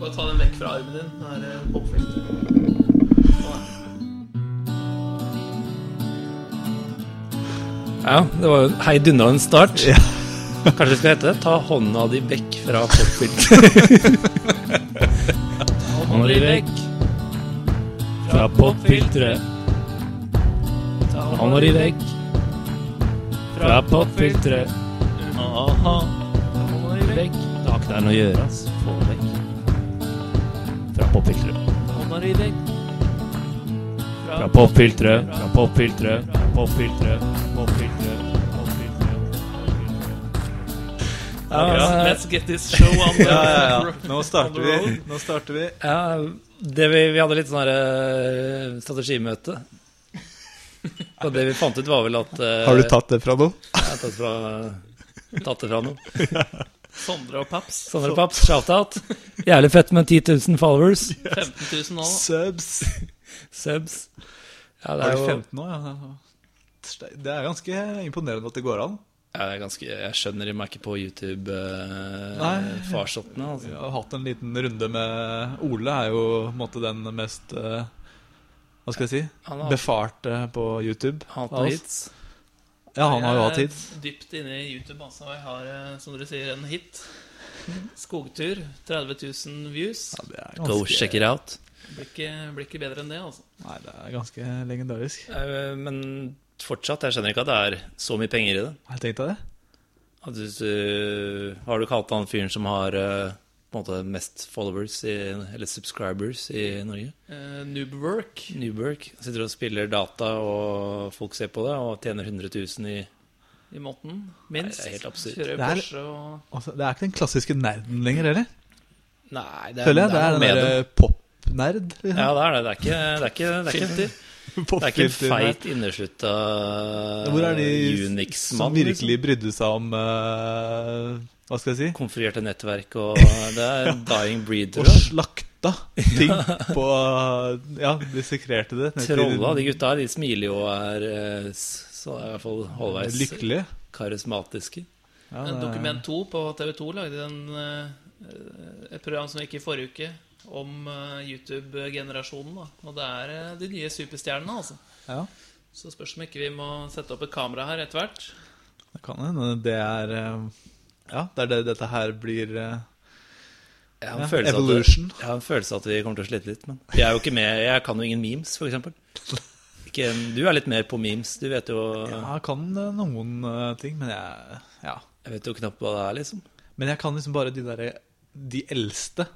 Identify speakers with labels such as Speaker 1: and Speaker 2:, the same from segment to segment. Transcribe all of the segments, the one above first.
Speaker 1: Bare ta den vekk fra armen din. Den er eh, oppfylt.
Speaker 2: Ja, det var jo en heidundrende start. Kanskje det skal hete det? Ta hånda di vekk fra popfilteret.
Speaker 1: Hånda di vekk
Speaker 2: fra popfilteret.
Speaker 1: Ta
Speaker 2: Hånda di vekk fra popfilteret. Aha.
Speaker 1: Hånda di vekk.
Speaker 2: Vekk. Det har ikke der noe å gjøre, ass. Få det vekk. Fra popfilteret.
Speaker 1: Hånda di vekk.
Speaker 2: Fra popfilteret. Fra popfilteret. Fra popfilteret. Fra popfilteret.
Speaker 1: Ja,
Speaker 2: Ja,
Speaker 1: Let's get this show on the
Speaker 3: Ja, ja, ja. Nå
Speaker 1: on the
Speaker 3: starter vi.
Speaker 1: road.
Speaker 3: Nå starter vi.
Speaker 2: ja, det vi, vi hadde litt sånn her eh, strategimøte. Og det vi fant ut, var vel at eh,
Speaker 3: Har du tatt det fra noen?
Speaker 2: Jeg har tatt, fra, tatt det fra noe.
Speaker 1: Sondre og Paps.
Speaker 2: Sondre Paps, shout-out. Jævlig fett med 10 000 followers.
Speaker 1: 15 000 nå. da.
Speaker 3: Subs.
Speaker 2: Subs. Ja, det
Speaker 3: Har
Speaker 2: er
Speaker 3: du
Speaker 2: jo
Speaker 3: 15 nå? Ja. Det er ganske imponerende at det går an.
Speaker 2: ja, det er ganske, Jeg skjønner meg ikke på
Speaker 3: Nei.
Speaker 2: YouTube-farsottene.
Speaker 3: Vi
Speaker 2: altså.
Speaker 3: har hatt en liten runde med Ole, er jo på en måte den mest eh, Hva skal jeg si?
Speaker 2: Han har
Speaker 3: Befarte på YouTube.
Speaker 2: hatt
Speaker 3: av
Speaker 2: noen
Speaker 3: oss.
Speaker 2: hits.
Speaker 3: Ja, han har jo
Speaker 1: Jeg
Speaker 3: hatt hits.
Speaker 1: er Dypt inne i YouTube. Altså. Jeg har, eh, som dere sier, en hit. Skogtur. 30 000 views.
Speaker 3: Ja, det er
Speaker 2: Go check it out.
Speaker 1: Blir ikke, blir ikke bedre enn det, altså.
Speaker 3: Nei, det er ganske legendarisk.
Speaker 2: Eh, Men fortsatt, jeg skjønner ikke at det er så mye penger i det.
Speaker 3: Har jeg tenkt deg det?
Speaker 2: At du, eh, har du kalt han fyren som har eh, på en måte mest followers, i, eller subscribers, i Norge?
Speaker 1: Eh, Noobwork.
Speaker 2: Newberg sitter og spiller data, og folk ser på det, og tjener 100 000 i
Speaker 1: i måneden, minst.
Speaker 2: Nei, det er helt absurd.
Speaker 1: Kjører
Speaker 3: Det er-
Speaker 1: Porsche og
Speaker 3: Altså, det er ikke den klassiske nerden lenger heller,
Speaker 2: Nei, det
Speaker 3: føler jeg. Det
Speaker 2: noe
Speaker 3: er den
Speaker 2: med
Speaker 3: derre popnerd. liksom.
Speaker 2: det. Ja, det er det. Det er ikke, det er ikke, det er ikke,
Speaker 1: filter.
Speaker 2: det er ikke en feit inneslutta Eh,
Speaker 3: Hvor er de som
Speaker 2: Unix-mann. liksom.
Speaker 3: virkelig brydde seg om eh, Hva skal jeg si?
Speaker 2: Konfigurerte nettverk og Det er dying breed,
Speaker 3: Og
Speaker 2: tror jeg.
Speaker 3: slakta ting på Ja, dissekrerte det. ned til-
Speaker 2: Trolla de gutta her. De smiler jo og er eh, s- så er i hvert fall halvveis
Speaker 3: Lykkelige.
Speaker 2: karismatiske.
Speaker 3: Ja, det-
Speaker 1: Dokument 2 på TV2 lagde en, eh, et program som gikk i forrige uke, om eh, YouTube-generasjonen. da. Og det er eh, de nye superstjernene, altså.
Speaker 3: Ja,
Speaker 1: Så spørs om ikke vi må sette opp et kamera her etter hvert.
Speaker 3: det kan hende. Det er eh, Ja, det er det dette her blir eh,
Speaker 2: Jeg har, en
Speaker 3: Ja,
Speaker 2: følelse av at-
Speaker 3: evolution.
Speaker 2: jeg har en følelse av at vi kommer til å slite litt. Men jeg er jo ikke med Jeg kan jo ingen memes, for eksempel. Ikke, du er litt mer på memes. Du vet jo
Speaker 3: Ja, jeg kan eh, noen eh, ting, men jeg Ja.
Speaker 2: Jeg vet jo knapt hva det er, liksom.
Speaker 3: Men jeg kan liksom bare de derre De eldste.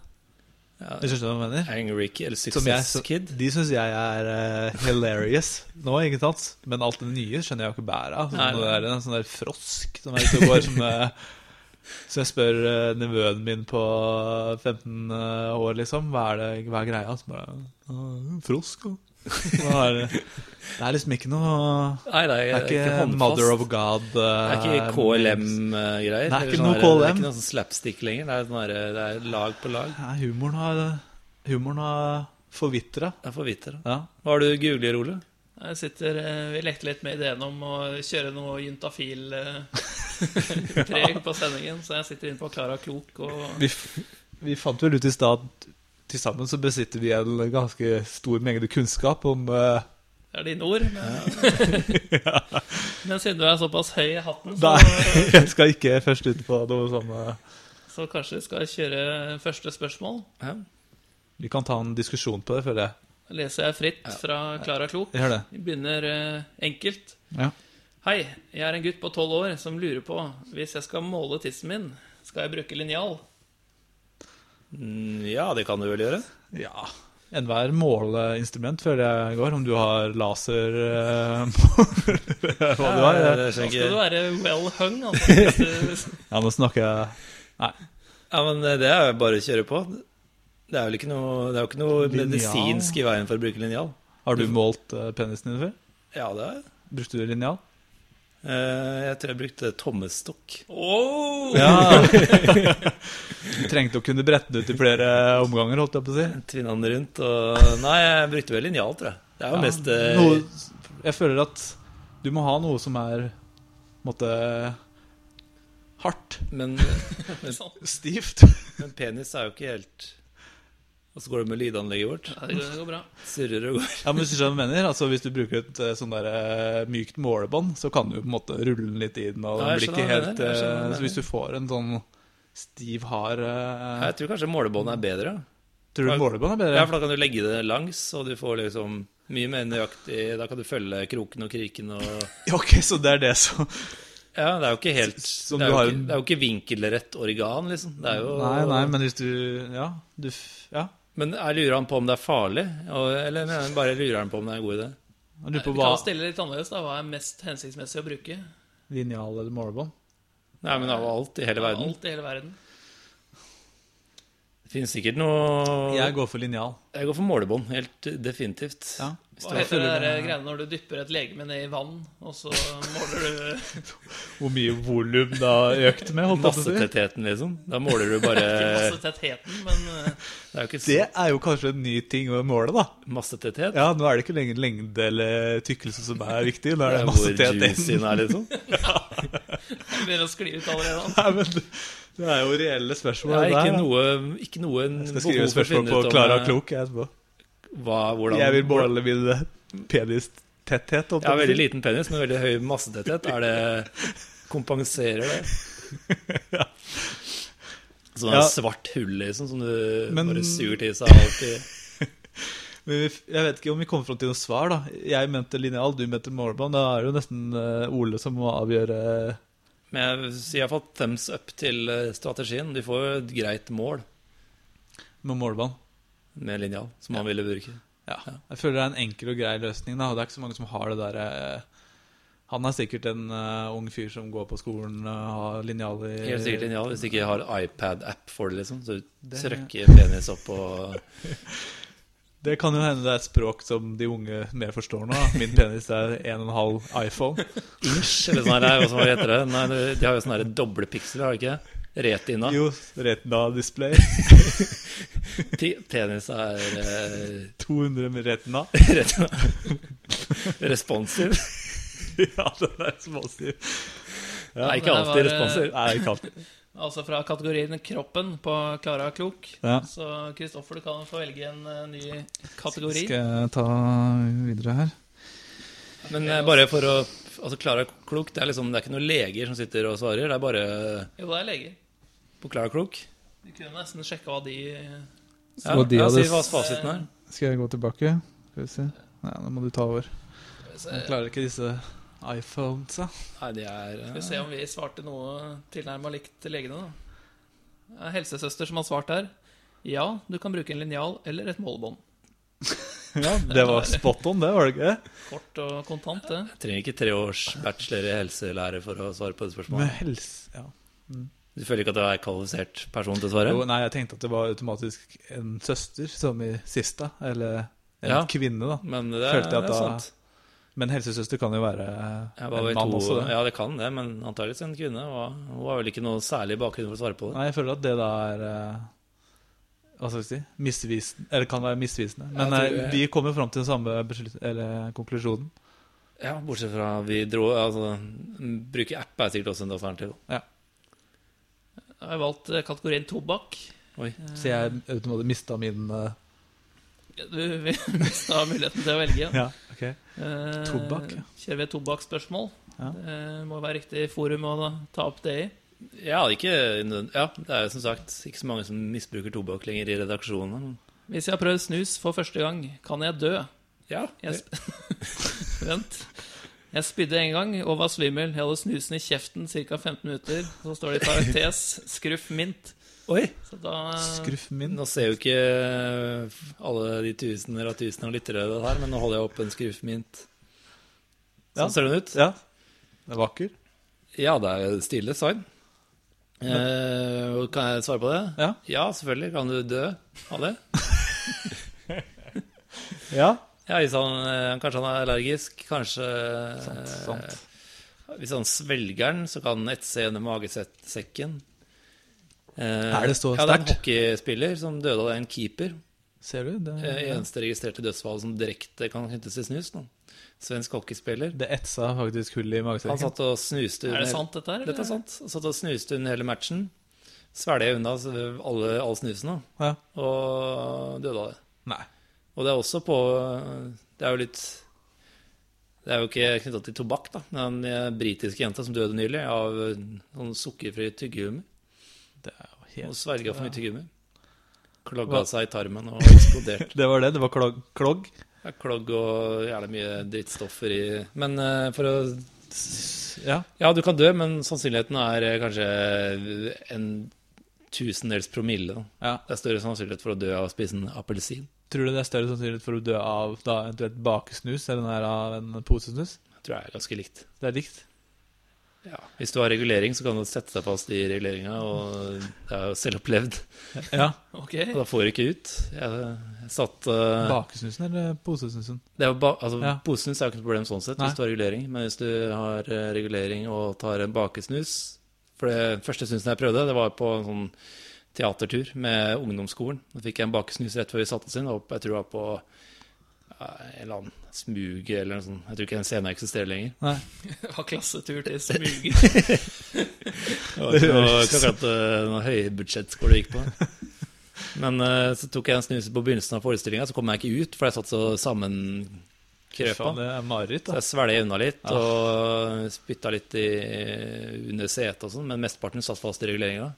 Speaker 2: Ja.
Speaker 3: Hvis du skjønner hva jeg mener?
Speaker 2: Angry Kid, eller
Speaker 3: Som jeg,
Speaker 2: Success
Speaker 3: så,
Speaker 2: Kid.
Speaker 3: de syns jeg er eh, hilarious nå, ikke sant? Men alt det nye skjønner jeg jo ikke bæret av.
Speaker 2: Nei,
Speaker 3: Sånn, det
Speaker 2: nei.
Speaker 3: er en sånn der frosk som er ute og går. Som, eh, så jeg spør eh, nevøen min på 15 år, liksom, hva er, det, hva er greia? Så bare «Ah, Frosk, da. Hva er det? det er liksom ikke noe
Speaker 2: Nei, nei,
Speaker 3: Det
Speaker 2: jeg er
Speaker 3: er ikke,
Speaker 2: Eh, håndfast.
Speaker 3: Mother of God. eh,
Speaker 2: Det er ikke KLM-greier.
Speaker 3: Det er
Speaker 2: Eller
Speaker 3: ikke noe
Speaker 2: sånn her- Det er
Speaker 3: KLM.
Speaker 2: ikke noe sånn slapstick lenger. Det er, sånn her- det er lag på lag.
Speaker 3: Nei, humoren har, humoren har forvitra.
Speaker 2: Det er for hvitt her. da.
Speaker 3: Ja.
Speaker 2: Hva har du googler, Ole?
Speaker 1: Jeg sitter, eh, vi lekte litt med ideen om å kjøre noe juntafil-preg på sendingen, så jeg sitter inne på Klara Klok og
Speaker 3: Vi, f- vi fant vel ut i stad at til sammen så besitter vi en ganske stor mengde kunnskap om eh,
Speaker 1: Det er dine ord. Men, men siden du er såpass høy i hatten, så,
Speaker 3: Nei, jeg skal ikke først ut på noe sånn eh,
Speaker 1: så kanskje vi skal kjøre første spørsmål.
Speaker 2: Ja.
Speaker 3: Vi kan ta en diskusjon på det, føler jeg.
Speaker 1: Leser jeg fritt fra Klara Klok.
Speaker 3: Jeg gjør det.
Speaker 1: Vi begynner eh, enkelt.
Speaker 3: Ja.
Speaker 1: Hei, jeg er en gutt på tolv år som lurer på Hvis jeg skal måle tissen min, skal jeg bruke linjal?
Speaker 2: Mm, ja, det kan du vel gjøre.
Speaker 3: ja. Enhver måleinstrument føler jeg går, om du har laser eh, Hva du
Speaker 2: Ja,
Speaker 3: har. eh.
Speaker 2: det
Speaker 1: Da
Speaker 2: skjønner
Speaker 1: skal du
Speaker 2: jeg ikke.
Speaker 1: være well hung, altså. Hvis du-
Speaker 3: Ja, nå snakker jeg
Speaker 2: Ja, men eh, det er jo bare å kjøre på. Det er vel ikke noe, det er jo ikke noe
Speaker 3: Linjal.
Speaker 2: medisinsk i veien for å bruke linjal.
Speaker 3: Har du målt eh, penisen din før?
Speaker 2: Ja, det er
Speaker 3: Brukte du linjal?
Speaker 2: Eh, Jeg tror jeg brukte tommestokk.
Speaker 1: Åh!
Speaker 3: Ja. Trengte å kunne brette den ut i flere omganger, holdt jeg på å si.
Speaker 2: Tvinna den rundt og Nei, jeg brukte vel linjal, tror jeg. Det er jo
Speaker 3: Ja,
Speaker 2: mest eh,
Speaker 3: noe, Jeg føler at du må ha noe som er på en måte hardt.
Speaker 2: Men,
Speaker 1: Sånn.
Speaker 3: Stivt.
Speaker 2: men penis er jo ikke helt Og så går det med lydanlegget vårt.
Speaker 1: Ja, det går- det går bra.
Speaker 2: Surrer og går.
Speaker 3: Ja, men Hvis du skjønner hva jeg mener, altså hvis du bruker et eh, sånn der, eh, mykt målebånd, så kan du jo på en måte rulle den litt i den. og
Speaker 2: Ja,
Speaker 3: den
Speaker 2: jeg
Speaker 3: blir
Speaker 2: skjønner
Speaker 3: ikke
Speaker 2: hva du
Speaker 3: helt...
Speaker 2: mener, jeg skjønner hva
Speaker 3: eh,
Speaker 2: du
Speaker 3: Så hvis du får en sånn stiv, hard eh,
Speaker 2: Jeg tror kanskje målebåndet er bedre. ja.
Speaker 3: Tror du målebånd er bedre?
Speaker 2: Ja, for da kan du legge det langs, og du får liksom mye mer nøyaktig Da kan du følge kroken og kriken og
Speaker 3: Ja, ok, så det er det som
Speaker 2: Ja, det er jo ikke helt
Speaker 3: Som
Speaker 2: det, er
Speaker 3: du
Speaker 2: jo
Speaker 3: har
Speaker 2: ikke,
Speaker 3: en-
Speaker 2: det er jo ikke vinkelrett organ, liksom. Det er jo
Speaker 3: Nei, nei, men hvis du Ja. du... f- ja.
Speaker 2: Men jeg lurer han på om det er farlig, og, eller mener han bare lurer han på om det er en god idé?
Speaker 3: Jeg lurer
Speaker 1: Vi
Speaker 3: på hva
Speaker 1: kan stille litt annerledes. da Hva er mest hensiktsmessig å bruke?
Speaker 3: linjal eller målebånd.
Speaker 2: Nei, men av alt i hele
Speaker 1: Av
Speaker 2: verden.
Speaker 1: Alt i hele verden.
Speaker 2: Det finnes sikkert noe
Speaker 3: Jeg går for linjal.
Speaker 2: Jeg går for målebånd, helt definitivt.
Speaker 3: Ja.
Speaker 1: Hva heter det der eh, greiene når du dypper et legeme ned i vann, og så måler du
Speaker 3: Hvor mye volum da økte med, holdt jeg på å si.
Speaker 2: Massetettheten, liksom. Da måler du bare
Speaker 1: Ikke masse tettheten, men eh,
Speaker 2: Det er jo ikke
Speaker 3: Det
Speaker 2: så
Speaker 3: er jo kanskje en ny ting å måle, da.
Speaker 2: massetetthet.
Speaker 3: Ja, nå er det ikke lenger lengde eller tykkelse som er viktig, nå er det
Speaker 2: hvor
Speaker 3: masse
Speaker 2: juicyen
Speaker 3: tettheten.
Speaker 2: er, liksom.
Speaker 1: det begynner å skli ut allerede. da.
Speaker 3: Nei, men det- det er jo reelle
Speaker 2: Det
Speaker 3: spørsmål.
Speaker 2: er
Speaker 3: det
Speaker 2: ikke
Speaker 3: her, da.
Speaker 2: noe, ikke noe en
Speaker 3: Jeg skal skrive
Speaker 2: behov for å
Speaker 3: et spørsmål
Speaker 2: finne ut
Speaker 3: på
Speaker 2: om,
Speaker 3: Klara
Speaker 2: eh,
Speaker 3: Klok jeg etterpå.
Speaker 2: Hva, hvordan,
Speaker 3: Jeg vil måle min eh, penistetthet. holdt
Speaker 2: Ja,
Speaker 3: jeg på å si.
Speaker 2: veldig liten penis, men veldig høy massetetthet. Er det Kompenserer det? Sånn
Speaker 3: Ja.
Speaker 2: et svart hull, liksom, som du
Speaker 3: Men-
Speaker 2: bare suger til seg alltid.
Speaker 3: Men vi, jeg vet ikke om vi kom fram til noe svar. da Jeg mente linjal, du mente målbånd. Da er det jo nesten eh, Ole som må avgjøre
Speaker 2: Men jeg sier iallfall thumbs up til eh, strategien. De får jo et greit mål
Speaker 3: med målbånd.
Speaker 2: med linjal, som man ville bruke.
Speaker 3: Ja. Jeg føler det er en enkel og grei løsning. da Og Det er ikke så mange som har det der eh, Han er sikkert en eh, ung fyr som går på skolen og har linjal i
Speaker 2: Helt sikkert linjal, hvis du ikke har iPad-app for det, liksom. Så du
Speaker 3: Det-
Speaker 2: trykker penis opp og
Speaker 3: Det kan jo hende det er et språk som de unge mer forstår nå. da. Min penis er 1,5 iPhone.
Speaker 2: inch, eller sånn her. Hva som heter det? Nei, de har jo sånne her doble piksler, har de ikke? Retina.
Speaker 3: Jo, retina-display.
Speaker 2: Pe- Penis er eh,
Speaker 3: 200 med retina.
Speaker 2: Rett og slett. responsiv.
Speaker 3: ja, den er småstiv.
Speaker 2: Nei,
Speaker 1: men
Speaker 2: ikke
Speaker 1: det
Speaker 2: alltid
Speaker 1: var, eh,
Speaker 2: responsiv.
Speaker 3: Nei, ikke alltid.
Speaker 1: Altså fra kategorien kroppen på Klara Klok.
Speaker 3: Ja.
Speaker 1: Så Kristoffer, du kan få velge en eh, ny kategori.
Speaker 3: Skal jeg ta videre her?
Speaker 2: Men eh, bare for å Altså, Klara Klok, det er liksom Det er ikke noen leger som sitter og svarer. Det er bare
Speaker 1: Jo, det er leger.
Speaker 2: på Klara Klok.
Speaker 1: Vi kunne nesten sjekka hva de
Speaker 2: Ja,
Speaker 3: Så de
Speaker 2: ja, si
Speaker 3: hadde-
Speaker 2: hva fasiten er.
Speaker 3: Skal jeg gå tilbake? Skal vi se. Nei, nå må du ta over.
Speaker 1: Skal
Speaker 3: Jeg
Speaker 2: Eh.
Speaker 3: klarer ikke disse iPhones, da.
Speaker 2: Nei, de er
Speaker 1: vi
Speaker 2: eh,
Speaker 1: se om vi svarte noe tilnærma likt til legene, da. Det er Helsesøster som har svart her. Ja, du kan bruke en linjal eller et målebånd.
Speaker 3: Ja, det var spot on, det, var det ikke? det?
Speaker 1: Kort og kontant, det.
Speaker 2: jeg Trenger ikke tre års bachelor i helselære for å svare på det
Speaker 3: Med
Speaker 2: spørsmålet.
Speaker 3: helse... Ja.
Speaker 2: Du føler ikke at du er kvalifisert person til å svare?
Speaker 3: Jo, nei, jeg tenkte at det var automatisk en søster, som i sista, eller en
Speaker 2: Ja.
Speaker 3: kvinne, da.
Speaker 2: Men det er,
Speaker 3: Følte jeg at
Speaker 2: det er
Speaker 3: da-
Speaker 2: sant.
Speaker 3: Men helsesøster kan jo være
Speaker 2: Jeg var
Speaker 3: en
Speaker 2: vel
Speaker 3: mann
Speaker 2: to,
Speaker 3: også, det.
Speaker 2: ja, det kan det, men antakeligvis en kvinne. Og hun har vel ikke noe særlig bakgrunn for å svare på det.
Speaker 3: Nei, jeg føler at det da er eh, Hva skal vi si? Misvisende. Eller kan være misvisende. Men
Speaker 2: Jeg tror-
Speaker 3: eh, vi kommer fram til den samme beslut- eller eh, konklusjonen.
Speaker 2: Ja, bortsett fra vi dro Altså, bruke app er sikkert også en alternativ.
Speaker 1: Jeg har valgt eh, kategorien tobakk.
Speaker 2: Oi.
Speaker 3: Så jeg automatisk mista min eh,
Speaker 1: Du mista muligheten til å velge.
Speaker 3: Ja, ok.
Speaker 1: Eh,
Speaker 3: Tobakk, ja.
Speaker 1: Kjører vi et tobakksspørsmål?
Speaker 3: Ja.
Speaker 1: Det må være riktig forum å da ta opp det i.
Speaker 2: Ja, ikke, ja, det er jo som sagt ikke så mange som misbruker tobakk lenger i redaksjonen.
Speaker 1: Hvis jeg har prøvd snus for første gang, kan jeg dø?
Speaker 2: Ja,
Speaker 1: Jeg sp Vent. Jeg spydde en gang og var svimmel. Jeg hadde snusen i kjeften ca. 15 minutter. Så står det i parentes 'skruff mint'.
Speaker 2: Oi!
Speaker 1: Så da
Speaker 3: Skruff min.
Speaker 2: Nå ser jo ikke alle de tusener og tusener av lyttere det her, men nå holder jeg opp en skruffmint. Sånn
Speaker 3: Ja.
Speaker 2: ser den ut.
Speaker 3: Ja. Den er vakker.
Speaker 2: Ja, det er stille sign. Eh, og kan jeg svare på det?
Speaker 3: Ja.
Speaker 2: selvfølgelig kan du dø av det.
Speaker 3: Ja.
Speaker 2: Ja, hvis han, eh, kanskje han er allergisk, kanskje
Speaker 3: Sant.
Speaker 2: eh,
Speaker 3: sant.
Speaker 2: Hvis han svelger den, så kan den etse gjennom magesekken. Eh,
Speaker 3: Er det så
Speaker 2: Ja, det er en
Speaker 3: sterkt?
Speaker 2: hockeyspiller som døde av det, en keeper.
Speaker 3: Ser du? Det,
Speaker 2: Eh, Eneste registrerte dødsfall som direkte kan knyttes til snus. Nå. Svensk hockeyspiller.
Speaker 3: det etsa faktisk hull i
Speaker 2: Han
Speaker 3: magesekken.
Speaker 2: satt og snuste
Speaker 1: Er
Speaker 2: under
Speaker 1: det sant, dette her?
Speaker 2: Dette er sant. Han satt og snuste under hele matchen. svelget jeg unna så alle, all snusen, da,
Speaker 3: Ja.
Speaker 2: og døde av det.
Speaker 3: Nei.
Speaker 2: Og det er også på Det er jo litt Det er jo ikke knytta til tobakk, da. men Den britiske jenta eh, som døde nylig av sånn sukkerfri tyggegummi.
Speaker 3: Det er jo
Speaker 2: Og
Speaker 3: helt
Speaker 2: sverga for mye tyggegummi. Klogga
Speaker 3: Hva?
Speaker 2: seg i tarmen og eksplodert.
Speaker 3: Det var det. Det var klogg. klogg.
Speaker 2: Det er klogg og jævlig mye drittstoffer i Men eh, for å
Speaker 3: Ja.
Speaker 2: Ja, du kan dø, men sannsynligheten er eh, kanskje en tusendels promille. da.
Speaker 3: ja.
Speaker 2: Det er større sannsynlighet for å dø av å spise en appelsin.
Speaker 3: Tror du det er større sannsynlighet for å dø av da eventuelt bakesnus enn her av en posesnus?
Speaker 2: Det tror jeg er ganske likt.
Speaker 3: Det er likt.
Speaker 2: Ja. Hvis du har regulering, så kan du sette deg fast i reguleringa, og det er jo selvopplevd.
Speaker 3: Ja.
Speaker 1: Ok.
Speaker 2: Og da får du ikke ut. Jeg, jeg satt eh,
Speaker 3: Bakesnusen eller posesnusen?
Speaker 2: det er jo ba, altså,
Speaker 3: Ja.
Speaker 2: Posesnus er jo ikke noe problem sånn sett,
Speaker 3: Nei.
Speaker 2: hvis du har regulering. Men hvis du har eh, regulering og tar en bakesnus For det første snusen jeg prøvde, det var på en sånn teatertur med ungdomsskolen. Da fikk jeg en bakesnus rett før vi satte oss inn. og Jeg tror det var på eh, en eller annen smug eller noe sånt. Jeg tror ikke den scenen eksisterer lenger.
Speaker 3: Nei.
Speaker 1: Det var klassetur til smuger.
Speaker 2: Det var ikke noe-
Speaker 3: høres-
Speaker 2: ikke akkurat eh, noe høybudsjettskole du gikk på. Men eh, så tok jeg en snus på begynnelsen av forestillinga, så kom jeg ikke ut, for jeg satt så sammenkrøpa.
Speaker 3: Faen, Det er mareritt,
Speaker 2: Så
Speaker 3: da.
Speaker 2: jeg svelget unna litt og spytta litt i, under setet og sånn, men mesteparten satt fast i reguleringa.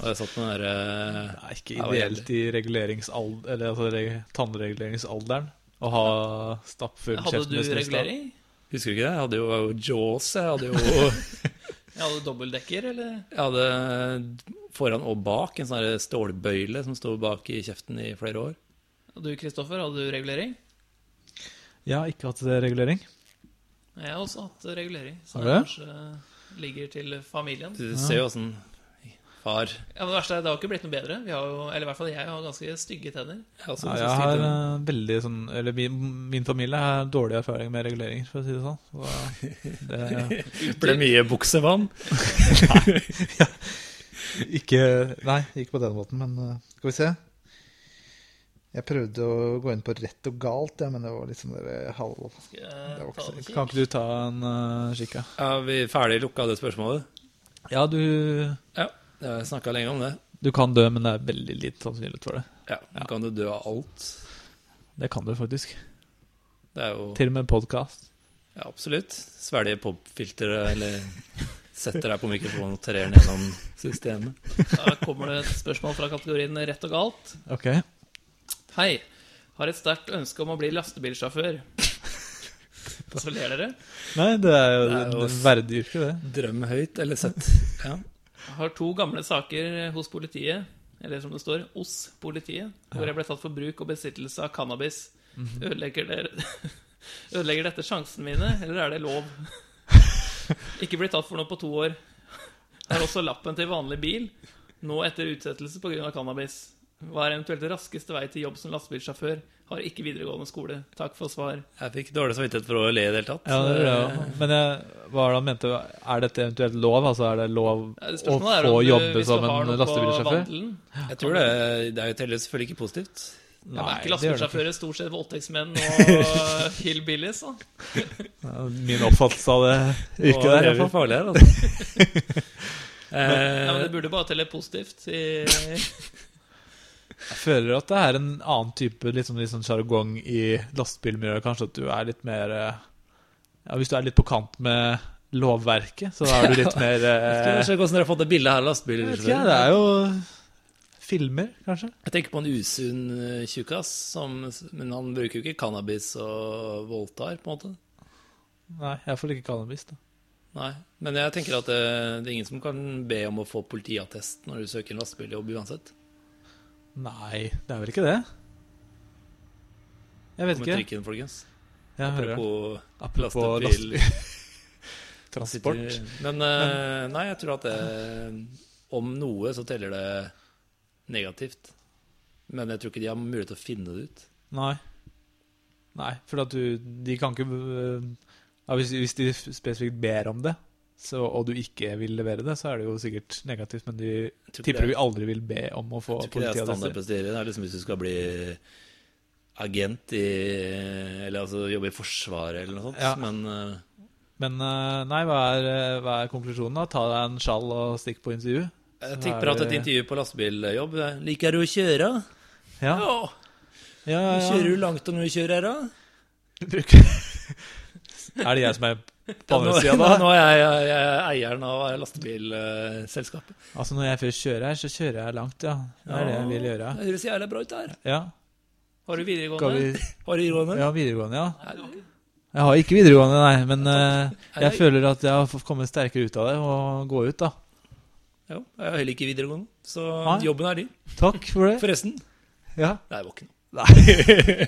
Speaker 2: Og jeg satt med den eh, derre
Speaker 3: Det er ikke
Speaker 2: Det var
Speaker 3: ideelt i reguleringsalder, eller altså reg tannreguleringsalderen å ha stappfull
Speaker 1: Hadde du
Speaker 3: kjeft med snus, da.
Speaker 1: regulering?
Speaker 2: Husker du ikke det? Jeg hadde jo jaws, jeg hadde jo
Speaker 1: Jeg hadde dobbeltdekker, eller?
Speaker 2: Jeg hadde foran og bak en sånn her stålbøyle som sto bak i kjeften i flere år.
Speaker 1: Og du, Kristoffer, hadde du regulering?
Speaker 3: Jeg har ikke hatt eh, regulering.
Speaker 1: Jeg har også hatt regulering, så
Speaker 3: Har
Speaker 1: det
Speaker 3: du?
Speaker 1: kanskje ligger til familien.
Speaker 2: Du ser jo åssen Far.
Speaker 1: Ja, men det verste er, det har ikke blitt noe bedre. Vi har jo, eller i hvert fall jeg har ganske stygge tenner.
Speaker 2: Jeg, også,
Speaker 3: Ja, jeg har eh, veldig sånn Eller min, min familie har dårlig erfaring med reguleringer, for å si det sånn. Så det,
Speaker 2: Ble mye buksevann.
Speaker 4: Ikke Nei, ikke på den måten, men eh, skal vi se. Jeg prøvde å gå inn på rett og galt, ja, men det var litt
Speaker 3: liksom
Speaker 4: sånn der halv...
Speaker 1: Skal
Speaker 4: Det var
Speaker 1: jeg
Speaker 4: ikke
Speaker 1: ta
Speaker 4: så-
Speaker 1: det
Speaker 3: kan
Speaker 1: kikk?
Speaker 3: ikke du ta en uh, kikk, ja?
Speaker 2: Er vi ferdig lukka det spørsmålet?
Speaker 3: Ja, du,
Speaker 2: Ja. Jeg snakka lenge om det.
Speaker 3: du kan dø, men det er veldig lite sannsynlighet for det.
Speaker 2: Ja, Kan du dø av alt?
Speaker 3: Det kan du faktisk.
Speaker 2: Det er jo
Speaker 3: Til og med podkast.
Speaker 2: ja, absolutt. Svelge popfilteret eller sette deg på mikrofonen og trer den gjennom systemet.
Speaker 1: Da kommer det et spørsmål fra kategorien rett og galt.
Speaker 3: Ok.
Speaker 1: Hei. Har et sterkt ønske om å bli lastebilsjåfør. Og så ler dere.
Speaker 3: Nei, det er jo
Speaker 2: Det er jo
Speaker 3: et
Speaker 2: s-
Speaker 3: verdig yrke, det.
Speaker 2: Drøm høyt eller sett. Ja.
Speaker 1: Har to gamle saker eh, hos politiet, eller som det står, hos politiet, hvor jeg ble tatt for bruk og besittelse av cannabis.
Speaker 3: Mhm.
Speaker 1: Ødelegger, dere, ødelegger dette sjansene mine, eller er det lov? Ikke blitt tatt for noe på to år. Har også lappen til vanlig bil, nå etter utsettelse pga. cannabis. Hva er eventuelt raskeste vei til jobb som lastebilsjåfør? Har ikke videregående skole. Takk for svar.
Speaker 2: Jeg fikk dårlig samvittighet for å le i det hele tatt.
Speaker 3: Ja, det
Speaker 2: så-
Speaker 3: gjør jeg også. Men jeg, hva er det han mente? Er dette eventuelt lov? Altså, er det lov
Speaker 1: Ja, det
Speaker 3: å
Speaker 1: spørsmålet er
Speaker 3: få
Speaker 1: om du-
Speaker 3: jobbe
Speaker 1: hvis du
Speaker 3: som
Speaker 1: har
Speaker 3: en
Speaker 1: noe på
Speaker 3: lastebilsjåfør?
Speaker 1: vandelen.
Speaker 2: jeg tror det, det er jo teller selvfølgelig ikke positivt.
Speaker 1: Ja, men er ikke
Speaker 3: det gjør det ikke.
Speaker 1: lastebilsjåfører stort sett voldtektsmenn og hillbillies? da?
Speaker 3: Ja, Min oppfattelse av det yrket der, i hvert
Speaker 2: lever
Speaker 3: fall.
Speaker 2: farlig her, altså. Eh,
Speaker 1: Ja, men det burde bare telle positivt. I,
Speaker 3: Jeg føler at det er en annen type litt sånn- litt sånn sjargong i lastebilmiljøet, kanskje, at du er litt mer eh, Ja, hvis du er litt på kant med lovverket, så er du litt mer eh,
Speaker 2: Skal vi se hvordan dere har fått det bildet her.
Speaker 3: Jeg vet
Speaker 2: lastebilsjåfører.
Speaker 3: ikke, det er jo filmer, kanskje?
Speaker 2: Jeg tenker på en usunn eh, tjukkas, som- men han bruker jo ikke cannabis og voldtar, på en måte.
Speaker 3: Nei, jeg får ikke cannabis, da.
Speaker 2: Nei, Men jeg tenker at eh, det er ingen som kan be om å få politiattest når du søker en lastebiljobb uansett.
Speaker 3: Nei, det er vel ikke det? Jeg vet
Speaker 2: Kom
Speaker 3: ikke.
Speaker 2: med trikken, folkens.
Speaker 3: Jeg hører.
Speaker 2: Apropos
Speaker 3: Apropos
Speaker 2: lastebil.
Speaker 3: lastetransport.
Speaker 2: Men eh, nei, jeg tror at det Om noe så teller det negativt. Men jeg tror ikke de har mulighet til å finne det ut.
Speaker 3: Nei. Nei, for at du De kan ikke øh, ja, hvis, hvis de spesifikt ber om det, så, og du ikke vil levere det, så er det jo sikkert negativt, men de
Speaker 2: Jeg tror ikke
Speaker 3: tipper
Speaker 2: det-
Speaker 3: vi aldri vil be om å få
Speaker 2: Jeg tror ikke det er
Speaker 3: politiattester.
Speaker 2: standardprosedyre. Det er liksom hvis du skal bli agent i Eller altså jobbe i Forsvaret eller noe sånt.
Speaker 3: Ja.
Speaker 2: Men eh,
Speaker 3: eh, Men øh, nei, hva er, øh, hva er konklusjonen, da? Ta deg en sjal og stikk på intervju?
Speaker 2: Jeg tipper at et intervju på lastebiljobb er, Liker du å kjøre?
Speaker 3: Ja,
Speaker 2: Ja.
Speaker 3: ja, ja.
Speaker 2: Kjører du langt når du kjører, da?
Speaker 3: Bruker Er det jeg som er
Speaker 2: nå,
Speaker 3: på andre sida, da?
Speaker 2: nå er jeg, jeg, jeg er eieren av lastebilselskapet.
Speaker 3: Altså, når jeg først kjører her, så kjører jeg langt, ja. Det er det jeg vil gjøre.
Speaker 2: Det høres jævlig bra ut, det her.
Speaker 3: Ja.
Speaker 1: Har du
Speaker 3: Skal vi
Speaker 1: videregående?
Speaker 2: Har du råd
Speaker 3: Ja, videregående, ja.
Speaker 1: Nei, du har ikke.
Speaker 3: Jeg har ikke videregående, nei, men eh,
Speaker 2: Nei,
Speaker 3: jeg
Speaker 2: nei.
Speaker 3: føler at jeg har fått kommet sterkere ut av det og gå ut, da.
Speaker 2: Ja, jeg har heller ikke videregående, så
Speaker 3: Nei.
Speaker 2: jobben er din.
Speaker 3: Takk for det.
Speaker 2: Forresten.
Speaker 3: Ja.
Speaker 2: Nei, det var ikke noe.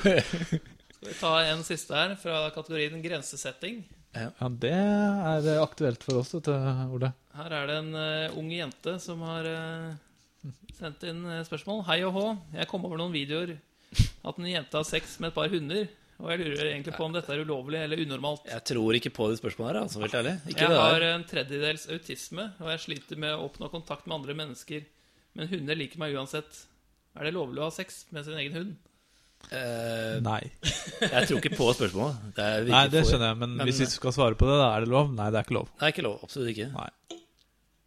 Speaker 1: Skal vi ta en siste her, fra kategorien grensesetting?
Speaker 3: ja, det er eh, aktuelt for oss, vet du, Ole.
Speaker 1: Her er det en eh, ung jente som har eh, sendt inn eh, spørsmål. Hei og hå, jeg kom over noen videoer at en jente har sex med et par hunder. Og jeg lurer egentlig på om dette er ulovlig eller unormalt.
Speaker 2: Jeg tror ikke på det spørsmålet her, altså, helt ærlig. Ikke
Speaker 1: Jeg
Speaker 2: det
Speaker 1: har
Speaker 2: der.
Speaker 1: en tredjedels autisme, og jeg sliter med å oppnå kontakt med andre mennesker. Men hunder liker meg uansett. Er det lovlig å ha sex med sin egen hund?
Speaker 2: Eh,
Speaker 3: Nei.
Speaker 2: jeg tror ikke på spørsmålet. Det er
Speaker 3: nei, det skjønner jeg, men,
Speaker 2: Men-
Speaker 3: hvis vi skal svare på det, da er det lov? Nei, det er ikke lov.
Speaker 2: Nei, ikke lov. Absolutt ikke.
Speaker 3: Nei.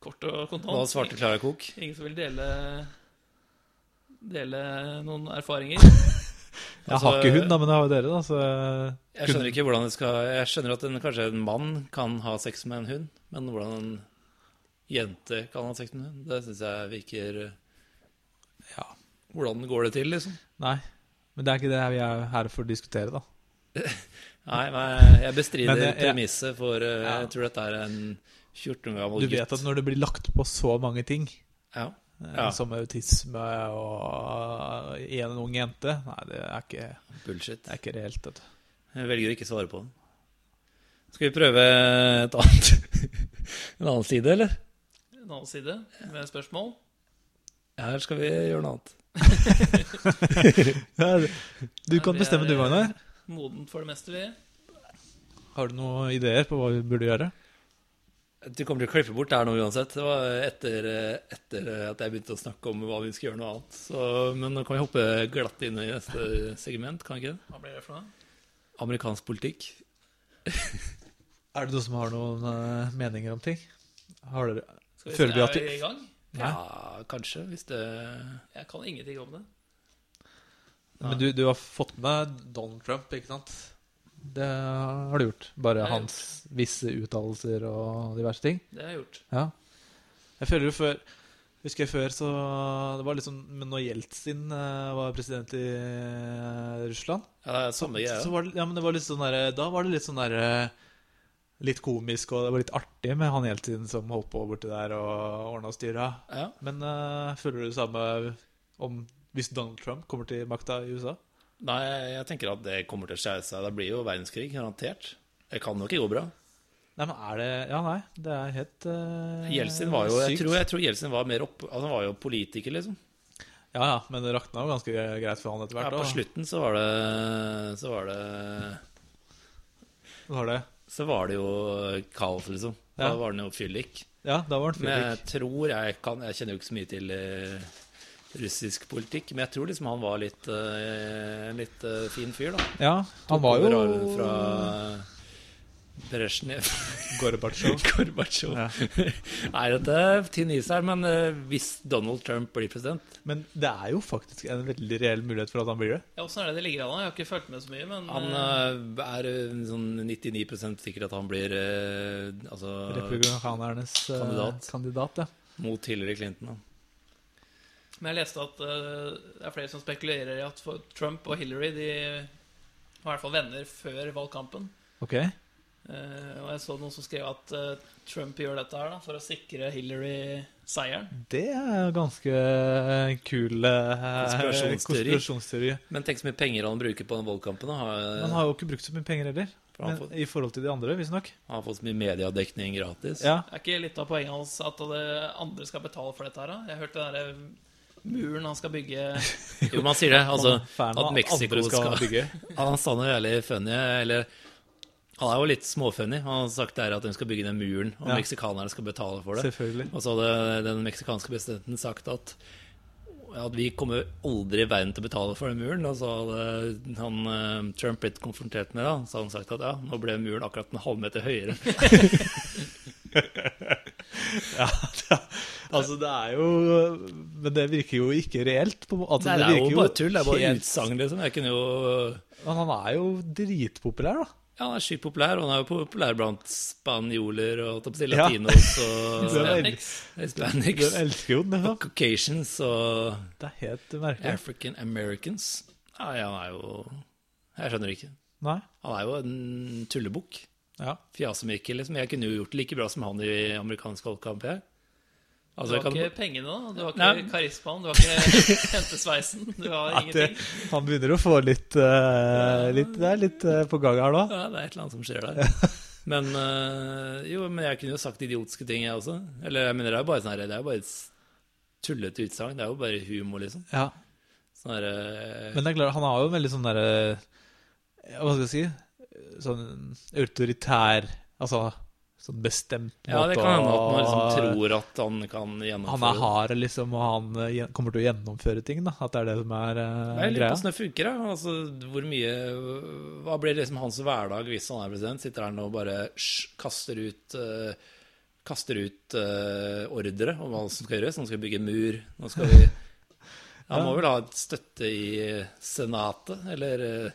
Speaker 1: Kort og
Speaker 2: Da
Speaker 1: kontant.
Speaker 2: svarte Klara Kok.
Speaker 1: Ingen som vil dele Dele noen erfaringer?
Speaker 3: Jeg
Speaker 2: Altså,
Speaker 3: har ikke hund, da, men det har jo dere, da, så eh,
Speaker 2: Jeg skjønner ikke hvordan det skal Jeg skjønner at en, kanskje en mann kan ha sex med en hund, men hvordan en jente kan ha sex med en hund, det syns jeg virker eh,
Speaker 3: Ja.
Speaker 2: Hvordan går det til, liksom?
Speaker 3: Nei. Men det er ikke det vi er her for å diskutere, da.
Speaker 2: Nei, men jeg
Speaker 3: Men
Speaker 2: bestrider
Speaker 3: jeg- jeg-
Speaker 2: premisset, for eh,
Speaker 3: Ja.
Speaker 2: jeg tror dette er en 14 år gammel
Speaker 3: Du vet at når det blir lagt på så mange ting,
Speaker 2: ja.
Speaker 3: eh,
Speaker 2: Ja.
Speaker 3: som autisme og en ung jente Nei, det er ikke,
Speaker 2: Bullshit.
Speaker 3: det er ikke reelt, vet du.
Speaker 2: Jeg velger å ikke svare på den. Skal vi prøve et annet en annen side, eller?
Speaker 1: En annen side med spørsmål.
Speaker 2: Ja, eller skal vi gjøre noe annet?
Speaker 3: Ja, Du kan
Speaker 1: vi
Speaker 3: bestemme
Speaker 1: er,
Speaker 3: du, Magnar.
Speaker 1: Modent for det meste, vi.
Speaker 3: Har du noen ideer på hva vi burde gjøre?
Speaker 2: Du kommer til å klippe bort det her nå uansett. Det var etter, eh, etter at jeg begynte å snakke om hva vi skulle gjøre noe annet. Så, men nå kan vi hoppe glatt inn i neste segment, kan vi ikke det?
Speaker 1: Hva blir det for noe?
Speaker 2: Amerikansk politikk.
Speaker 3: Er det noen som har noen eh, meninger om ting? Har dere
Speaker 1: Skal vi se,
Speaker 3: Føler vi
Speaker 1: er
Speaker 3: at vi-
Speaker 1: vi i gang?
Speaker 2: Ja, kanskje, hvis det
Speaker 1: Jeg kan ingenting om det.
Speaker 3: Men du, du har fått med deg Donald Trump, ikke sant? Det har du gjort.
Speaker 1: Det
Speaker 3: Bare
Speaker 1: har jeg
Speaker 3: hans visse uttalelser og diverse ting.
Speaker 1: Det har jeg gjort.
Speaker 3: Ja. Jeg føler jo før Husker jeg før, så Det var litt sånn Men når Jeltsin eh, var president i eh, Russland
Speaker 2: Ja, det er samme
Speaker 3: Så
Speaker 2: greia.
Speaker 3: var det, ja, men det var litt sånn der, da var det litt sånn der eh, Litt komisk, og det var litt artig med han hele tiden som holdt på borti der og ordna og styra.
Speaker 2: Ja.
Speaker 3: Men eh, føler du det samme om hvis Donald Trump kommer til makta i USA?
Speaker 2: Nei, jeg tenker at det kommer til å skjære seg. Det blir jo verdenskrig, garantert. Det kan jo ikke gå bra.
Speaker 3: Nei, men er det Ja, nei, det er helt eh,
Speaker 2: Jeltsin var jo Jeg
Speaker 3: sykt.
Speaker 2: tror, jeg tror Jeltsin var mer opp... Altså, han var jo politiker, liksom.
Speaker 3: Ja, ja, men det rakna jo ganske greit for han etter
Speaker 2: Ja,
Speaker 3: hvert.
Speaker 2: på
Speaker 3: da.
Speaker 2: slutten så var det Så var det
Speaker 3: Var det.
Speaker 2: så var det jo kaos, liksom. Da
Speaker 3: Ja.
Speaker 2: var det jo fyllik.
Speaker 3: Ja, da var han
Speaker 2: Men jeg
Speaker 3: fyllik.
Speaker 2: tror jeg kan Jeg kjenner jo ikke så mye til eh, russisk politikk, men jeg tror liksom han var litt eh, en litt eh, fin fyr, da.
Speaker 3: Ja, han var jo
Speaker 2: Over Fra Brezjnev
Speaker 3: Gorbatsjov.
Speaker 2: Gorbatsjov.
Speaker 3: Ja.
Speaker 2: Nei, dette er tynn is her, men eh, hvis Donald Trump blir president
Speaker 3: Men det er jo faktisk en veldig reell mulighet for at han blir det.
Speaker 1: Ja, Åssen er det det ligger an? da? Jeg har ikke fulgt med så mye, men
Speaker 2: Han
Speaker 1: eh,
Speaker 2: eh, er eh, sånn 99 sikker at han blir eh, altså
Speaker 3: Republikanernes eh,
Speaker 2: Kandidat.
Speaker 3: kandidat, ja.
Speaker 2: mot Hillary Clinton, da.
Speaker 1: Men jeg leste at eh, det er flere som spekulerer i at for Trump og Hillary de var i hvert fall venner før valgkampen.
Speaker 3: Ok.
Speaker 1: Eh, og jeg så noen som skrev at eh, Trump gjør dette her da, for å sikre Hillary seieren.
Speaker 3: Det er jo ganske kul eh,
Speaker 2: Konspirasjonsteori. Eh.
Speaker 3: konspirasjonsteori.
Speaker 2: Men tenk så mye penger han bruker på den valgkampen. da.
Speaker 3: Han
Speaker 2: Har,
Speaker 3: har jo ikke brukt så mye penger heller.
Speaker 2: For han
Speaker 3: Men, I forhold til de andre, visstnok.
Speaker 2: han har fått så mye mediedekning gratis.
Speaker 3: Ja.
Speaker 1: Er ikke litt av poenget hans at det andre skal betale for dette her? da? Jeg hørte den derre muren han skal bygge
Speaker 2: Jo, man sier det. Altså,
Speaker 3: Han er fan av
Speaker 2: at Mexico
Speaker 3: andre
Speaker 2: skal
Speaker 3: bygge.
Speaker 2: Han sa noe jævlig funny, eller Han er jo litt småfunny. Han har sagt der at de skal bygge den muren, og
Speaker 3: Ja.
Speaker 2: meksikanerne skal betale for det.
Speaker 3: Selvfølgelig.
Speaker 2: Og så hadde den meksikanske presidenten sagt at at vi kommer aldri i verden til å betale for den muren. Og så hadde han, eh, Trump blitt konfrontert med det. da. Så hadde han sagt at ja, nå ble muren akkurat en halvmeter høyere.
Speaker 3: Ja, Altså, det er jo Men det virker jo ikke reelt. På, må- altså,
Speaker 2: Nei, det er
Speaker 3: virker
Speaker 2: jo bare tull. Det er bare
Speaker 3: helt-
Speaker 2: utsagn, liksom. Jeg kunne jo
Speaker 3: Men han er jo dritpopulær, da.
Speaker 2: Ja, han er sjukt populær, og han er jo populær blant spanjoler og holdt jeg på å si,
Speaker 3: Ja.
Speaker 2: latinos
Speaker 3: Det er
Speaker 2: og
Speaker 3: veldig-
Speaker 1: X.
Speaker 3: Du
Speaker 2: hispanics.
Speaker 3: elsker jo den, liksom.
Speaker 2: Caucasians og
Speaker 3: Det er helt merkelig.
Speaker 2: African Americans. Nei, han er jo Jeg skjønner ikke.
Speaker 3: Nei.
Speaker 2: Han er jo en tullebukk.
Speaker 3: Ja.
Speaker 2: Fjasemikkel, liksom. Jeg kunne jo gjort det like bra som han i amerikansk valgkamp, jeg.
Speaker 1: Du
Speaker 2: Altså,
Speaker 1: har
Speaker 2: jeg kan...
Speaker 1: ikke pengene, da. Du har
Speaker 2: Nei.
Speaker 1: ikke karismaen. Du har ikke hentesveisen. Du har
Speaker 3: At det,
Speaker 1: ingenting.
Speaker 3: han begynner å få litt, eh, litt Det er litt eh, på gang her nå.
Speaker 2: Ja, det er et eller annet som skjer der. Men øh, jo, men jeg kunne jo sagt idiotiske ting, jeg også. Eller jeg mener, det er jo bare sånn her, det er jo bare et s- tullete utsagn. Det er jo bare humor, liksom.
Speaker 3: Ja.
Speaker 2: Sånn her, øh,
Speaker 3: Men det er klart, han har jo en veldig sånn derre ja, Hva skal jeg si? Sånn autoritær Altså sånn bestemt måte
Speaker 2: ja, det kan hende at
Speaker 3: å-
Speaker 2: man liksom tror at han kan gjennomføre
Speaker 3: Han er hard, liksom, og han eh, gjen- kommer til å gjennomføre ting. da At det er det som er eh,
Speaker 2: Jeg lurer på
Speaker 3: greia.
Speaker 2: hvordan det funker. da. Altså, hvor mye, hva blir liksom hans hverdag hvis han er president? Sitter han og bare sj, kaster ut, eh, kaster ut eh, ordre om hva som skal gjøres? Nå skal vi bygge mur. Nå skal vi Han må vel ha et støtte i eh, Senatet, eller eh,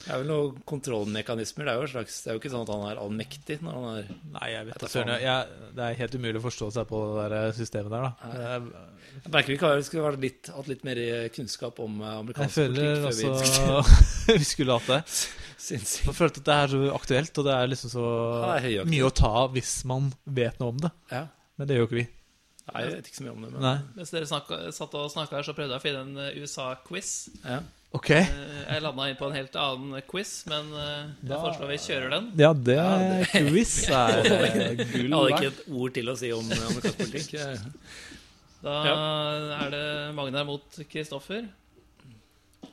Speaker 2: Det er vel noen kontrollmekanismer. Det er jo, en slags, det er jo ikke sånn at han er allmektig når han er
Speaker 3: Nei, jeg vet
Speaker 2: da
Speaker 3: da søren.
Speaker 2: faen.
Speaker 3: Jeg, jeg, det er helt umulig å forstå seg på det der eh, systemet der, da. Eh,
Speaker 2: Jeg merker vi ikke har- skulle vært litt, hatt litt mer kunnskap om eh,
Speaker 3: Jeg
Speaker 2: amerikansk
Speaker 3: føler
Speaker 2: politikk før vi
Speaker 3: også Vi skulle hatt det.
Speaker 2: syns
Speaker 3: Jeg følte at det er så aktuelt, og det er liksom så
Speaker 2: Ja, det er høyaktuelt.
Speaker 3: mye å ta av hvis man vet noe om det.
Speaker 2: ja.
Speaker 3: Men det gjør jo ikke vi.
Speaker 2: Nei, Jeg vet ikke så mye om det, men
Speaker 3: Nei.
Speaker 1: Mens dere snakka- satt og snakka her, så prøvde jeg å finne en eh, USA-quiz.
Speaker 2: Ja.
Speaker 3: Ok.
Speaker 1: Eh, Jeg landa inn på en helt annen quiz, men eh, jeg
Speaker 3: Da-
Speaker 1: foreslår vi kjører den.
Speaker 3: Ja, det er quiz er
Speaker 2: Jeg
Speaker 3: eh, gull
Speaker 2: hadde ikke
Speaker 3: verdt.
Speaker 2: et ord til å si om eh, amerikansk politikk.
Speaker 1: Da er det Magnar mot Kristoffer.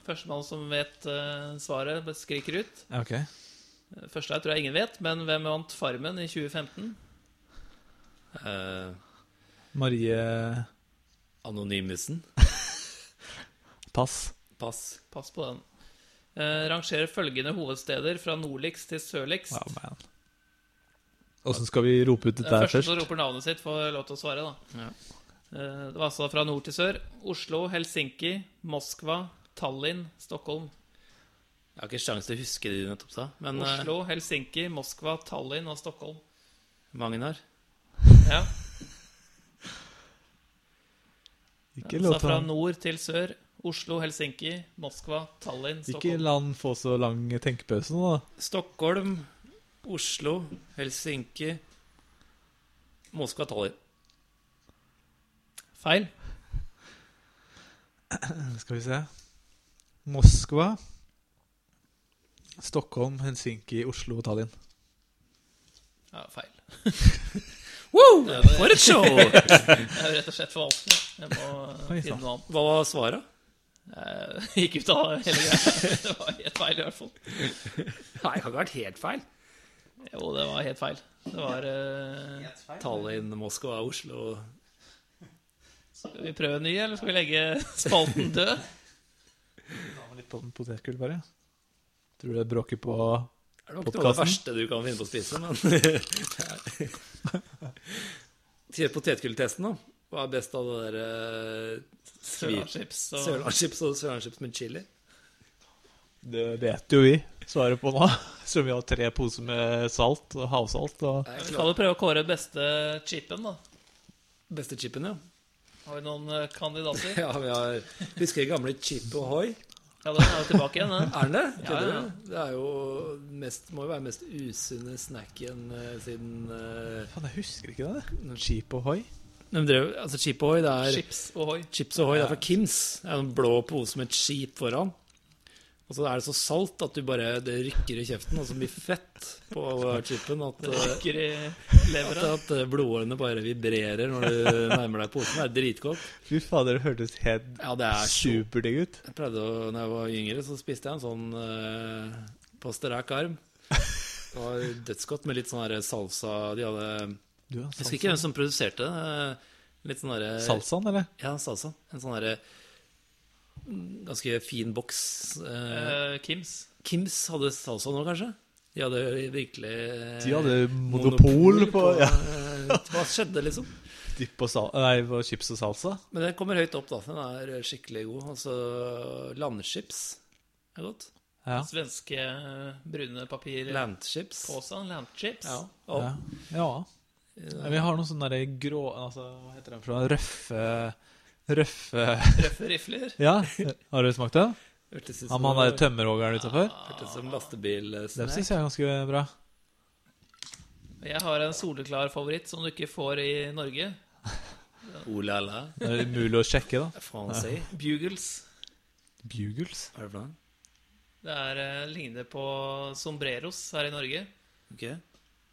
Speaker 1: Førstemann som vet eh, svaret, skriker ut.
Speaker 3: Ja, ok.
Speaker 1: Første her tror jeg ingen vet, men hvem vant Farmen i 2015?
Speaker 2: Eh,
Speaker 3: Marie
Speaker 2: Anonymousen.
Speaker 3: Pass.
Speaker 2: Pass.
Speaker 1: Pass på den. Eh, rangerer følgende hovedsteder fra nordligst til sørligst.
Speaker 3: Wow, man. Åssen skal vi rope ut
Speaker 1: Den
Speaker 3: dette her
Speaker 1: Eh, første som
Speaker 3: først?
Speaker 1: roper navnet sitt, får lov til å svare, da.
Speaker 2: Ja.
Speaker 1: Eh, det var altså fra nord til sør. Oslo, Helsinki, Moskva, Tallinn, Stockholm.
Speaker 2: Jeg har ikke sjans til å huske det du nettopp sa, men eh,
Speaker 1: Oslo, Helsinki, Moskva, Tallinn og Stockholm.
Speaker 2: Magnar
Speaker 1: Ja.
Speaker 3: Ikke
Speaker 1: Så
Speaker 3: la
Speaker 1: Altså fra
Speaker 3: han-
Speaker 1: nord til sør. Oslo, Helsinki, Moskva, Tallinn,
Speaker 3: ikke
Speaker 1: Stockholm.
Speaker 3: la han få så lang tenkepause nå, da.
Speaker 2: Stockholm, Oslo, Helsinki, Moskva, Tallinn.
Speaker 1: Feil.
Speaker 3: Skal vi se Moskva, Stockholm, Helsinki, Oslo og Tallinn.
Speaker 1: Ja, feil.
Speaker 2: Woo! For et show! Hva
Speaker 1: Jeg er jo rett og slett for vanskelig. Jeg må eh,
Speaker 3: Oi, sånn.
Speaker 1: finne
Speaker 3: sant.
Speaker 1: noe annet.
Speaker 2: var svaret?
Speaker 1: Jeg gikk ut av hele greia. Det var helt feil, i hvert fall.
Speaker 2: Nei, det kan ikke ha vært helt feil.
Speaker 1: Jo, det var helt feil. Det var eh,
Speaker 2: Tallinn, Moskva, Oslo
Speaker 1: Skal vi prøve en ny, eller skal vi legge spalten død?
Speaker 3: Litt på potetgull, bare. Tror du det bråker på
Speaker 2: Det er nok noe av det
Speaker 3: Podcasten?
Speaker 2: verste du kan finne på å spise, men Til potetgulltesten, da. Hva er best av det der eh, skvip-
Speaker 1: Sørlandschips og
Speaker 2: Sørlandschips og sørlandschips med chili?
Speaker 3: Det vet jo vi svaret på nå. Så vi har tre poser med salt og havsalt. Og
Speaker 2: Nei,
Speaker 1: Vi
Speaker 2: klart.
Speaker 1: kan jo prøve å kåre beste chipen, da.
Speaker 2: Beste chipen, ja.
Speaker 1: Har vi noen eh, kandidater?
Speaker 2: ja vi har, husker jeg gamle Chip Ahoy?
Speaker 1: Ja, den er jo tilbake igjen, den.
Speaker 2: Er den det?
Speaker 1: Ja, ja.
Speaker 2: Kødder du? Det er jo mest, må jo være mest usunne snacken eh, siden eh,
Speaker 3: Faen, jeg husker ikke det. Noen skip og hoi.
Speaker 2: de drev, altså Chip Ahoy, det er
Speaker 1: Chips Ohoi.
Speaker 2: Chips Ahoy, det er fra Kims. Det er en blå pose med et skip foran. Og så er det så salt at du bare, det rykker i kjeften, og så mye fett på chipen at,
Speaker 1: Det
Speaker 2: eh,
Speaker 1: rykker i
Speaker 2: at,
Speaker 1: levra.
Speaker 2: at eh, blodårene bare vibrerer når du nærmer deg posen. Det er dritgodt.
Speaker 3: Fy fader, det hørtes helt
Speaker 2: Ja, det er så
Speaker 3: superdigg ut.
Speaker 2: Jeg pleide å, når jeg var yngre, så spiste jeg en sånn eh, på strak arm. Det var dødsgodt med litt sånn her salsa De hadde
Speaker 3: Du, ja,
Speaker 2: Jeg husker ikke hvem som produserte det. eh, Litt sånn derre
Speaker 3: Salsaen, eller?
Speaker 2: Ja, salsa. En sånn derre mm, ganske fin boks. Eh,
Speaker 1: Eh, Kims.
Speaker 2: Kims hadde salsa nå, kanskje? De hadde virkelig eh,
Speaker 3: De hadde monopol på ja.
Speaker 2: eh, Hva skjedde, liksom?
Speaker 3: Dipp og sal nei, på chips og salsa.
Speaker 2: Men den kommer høyt opp, da. Den er skikkelig god. Altså landchips er godt.
Speaker 3: Ja.
Speaker 1: Svenske eh, brune papir
Speaker 2: Landchips.
Speaker 1: Påsan, landchips.
Speaker 2: Ja. Og,
Speaker 3: Ja. ja. Ja, Vi har noen sånne der grå altså, Hva heter den for noe? Røffe Røffe
Speaker 1: Røffe rifler.
Speaker 3: Ja, har du smakt den?
Speaker 2: Hørtes ut
Speaker 3: Ja,
Speaker 2: som,
Speaker 3: men han der tømmerhoggeren utafor?
Speaker 2: hørtes ut som
Speaker 3: Det syns
Speaker 2: lastebilsnack.
Speaker 3: jeg er ganske bra.
Speaker 1: Jeg har en soleklar favoritt som du ikke får i Norge.
Speaker 2: Oh la la.
Speaker 3: Det er umulig å sjekke, da.
Speaker 2: Hva faen sier
Speaker 1: Bugles.
Speaker 3: Bugles?
Speaker 2: Hva er det for noe?
Speaker 1: Det er eh, ligner på sombreros her i Norge.
Speaker 2: Ok.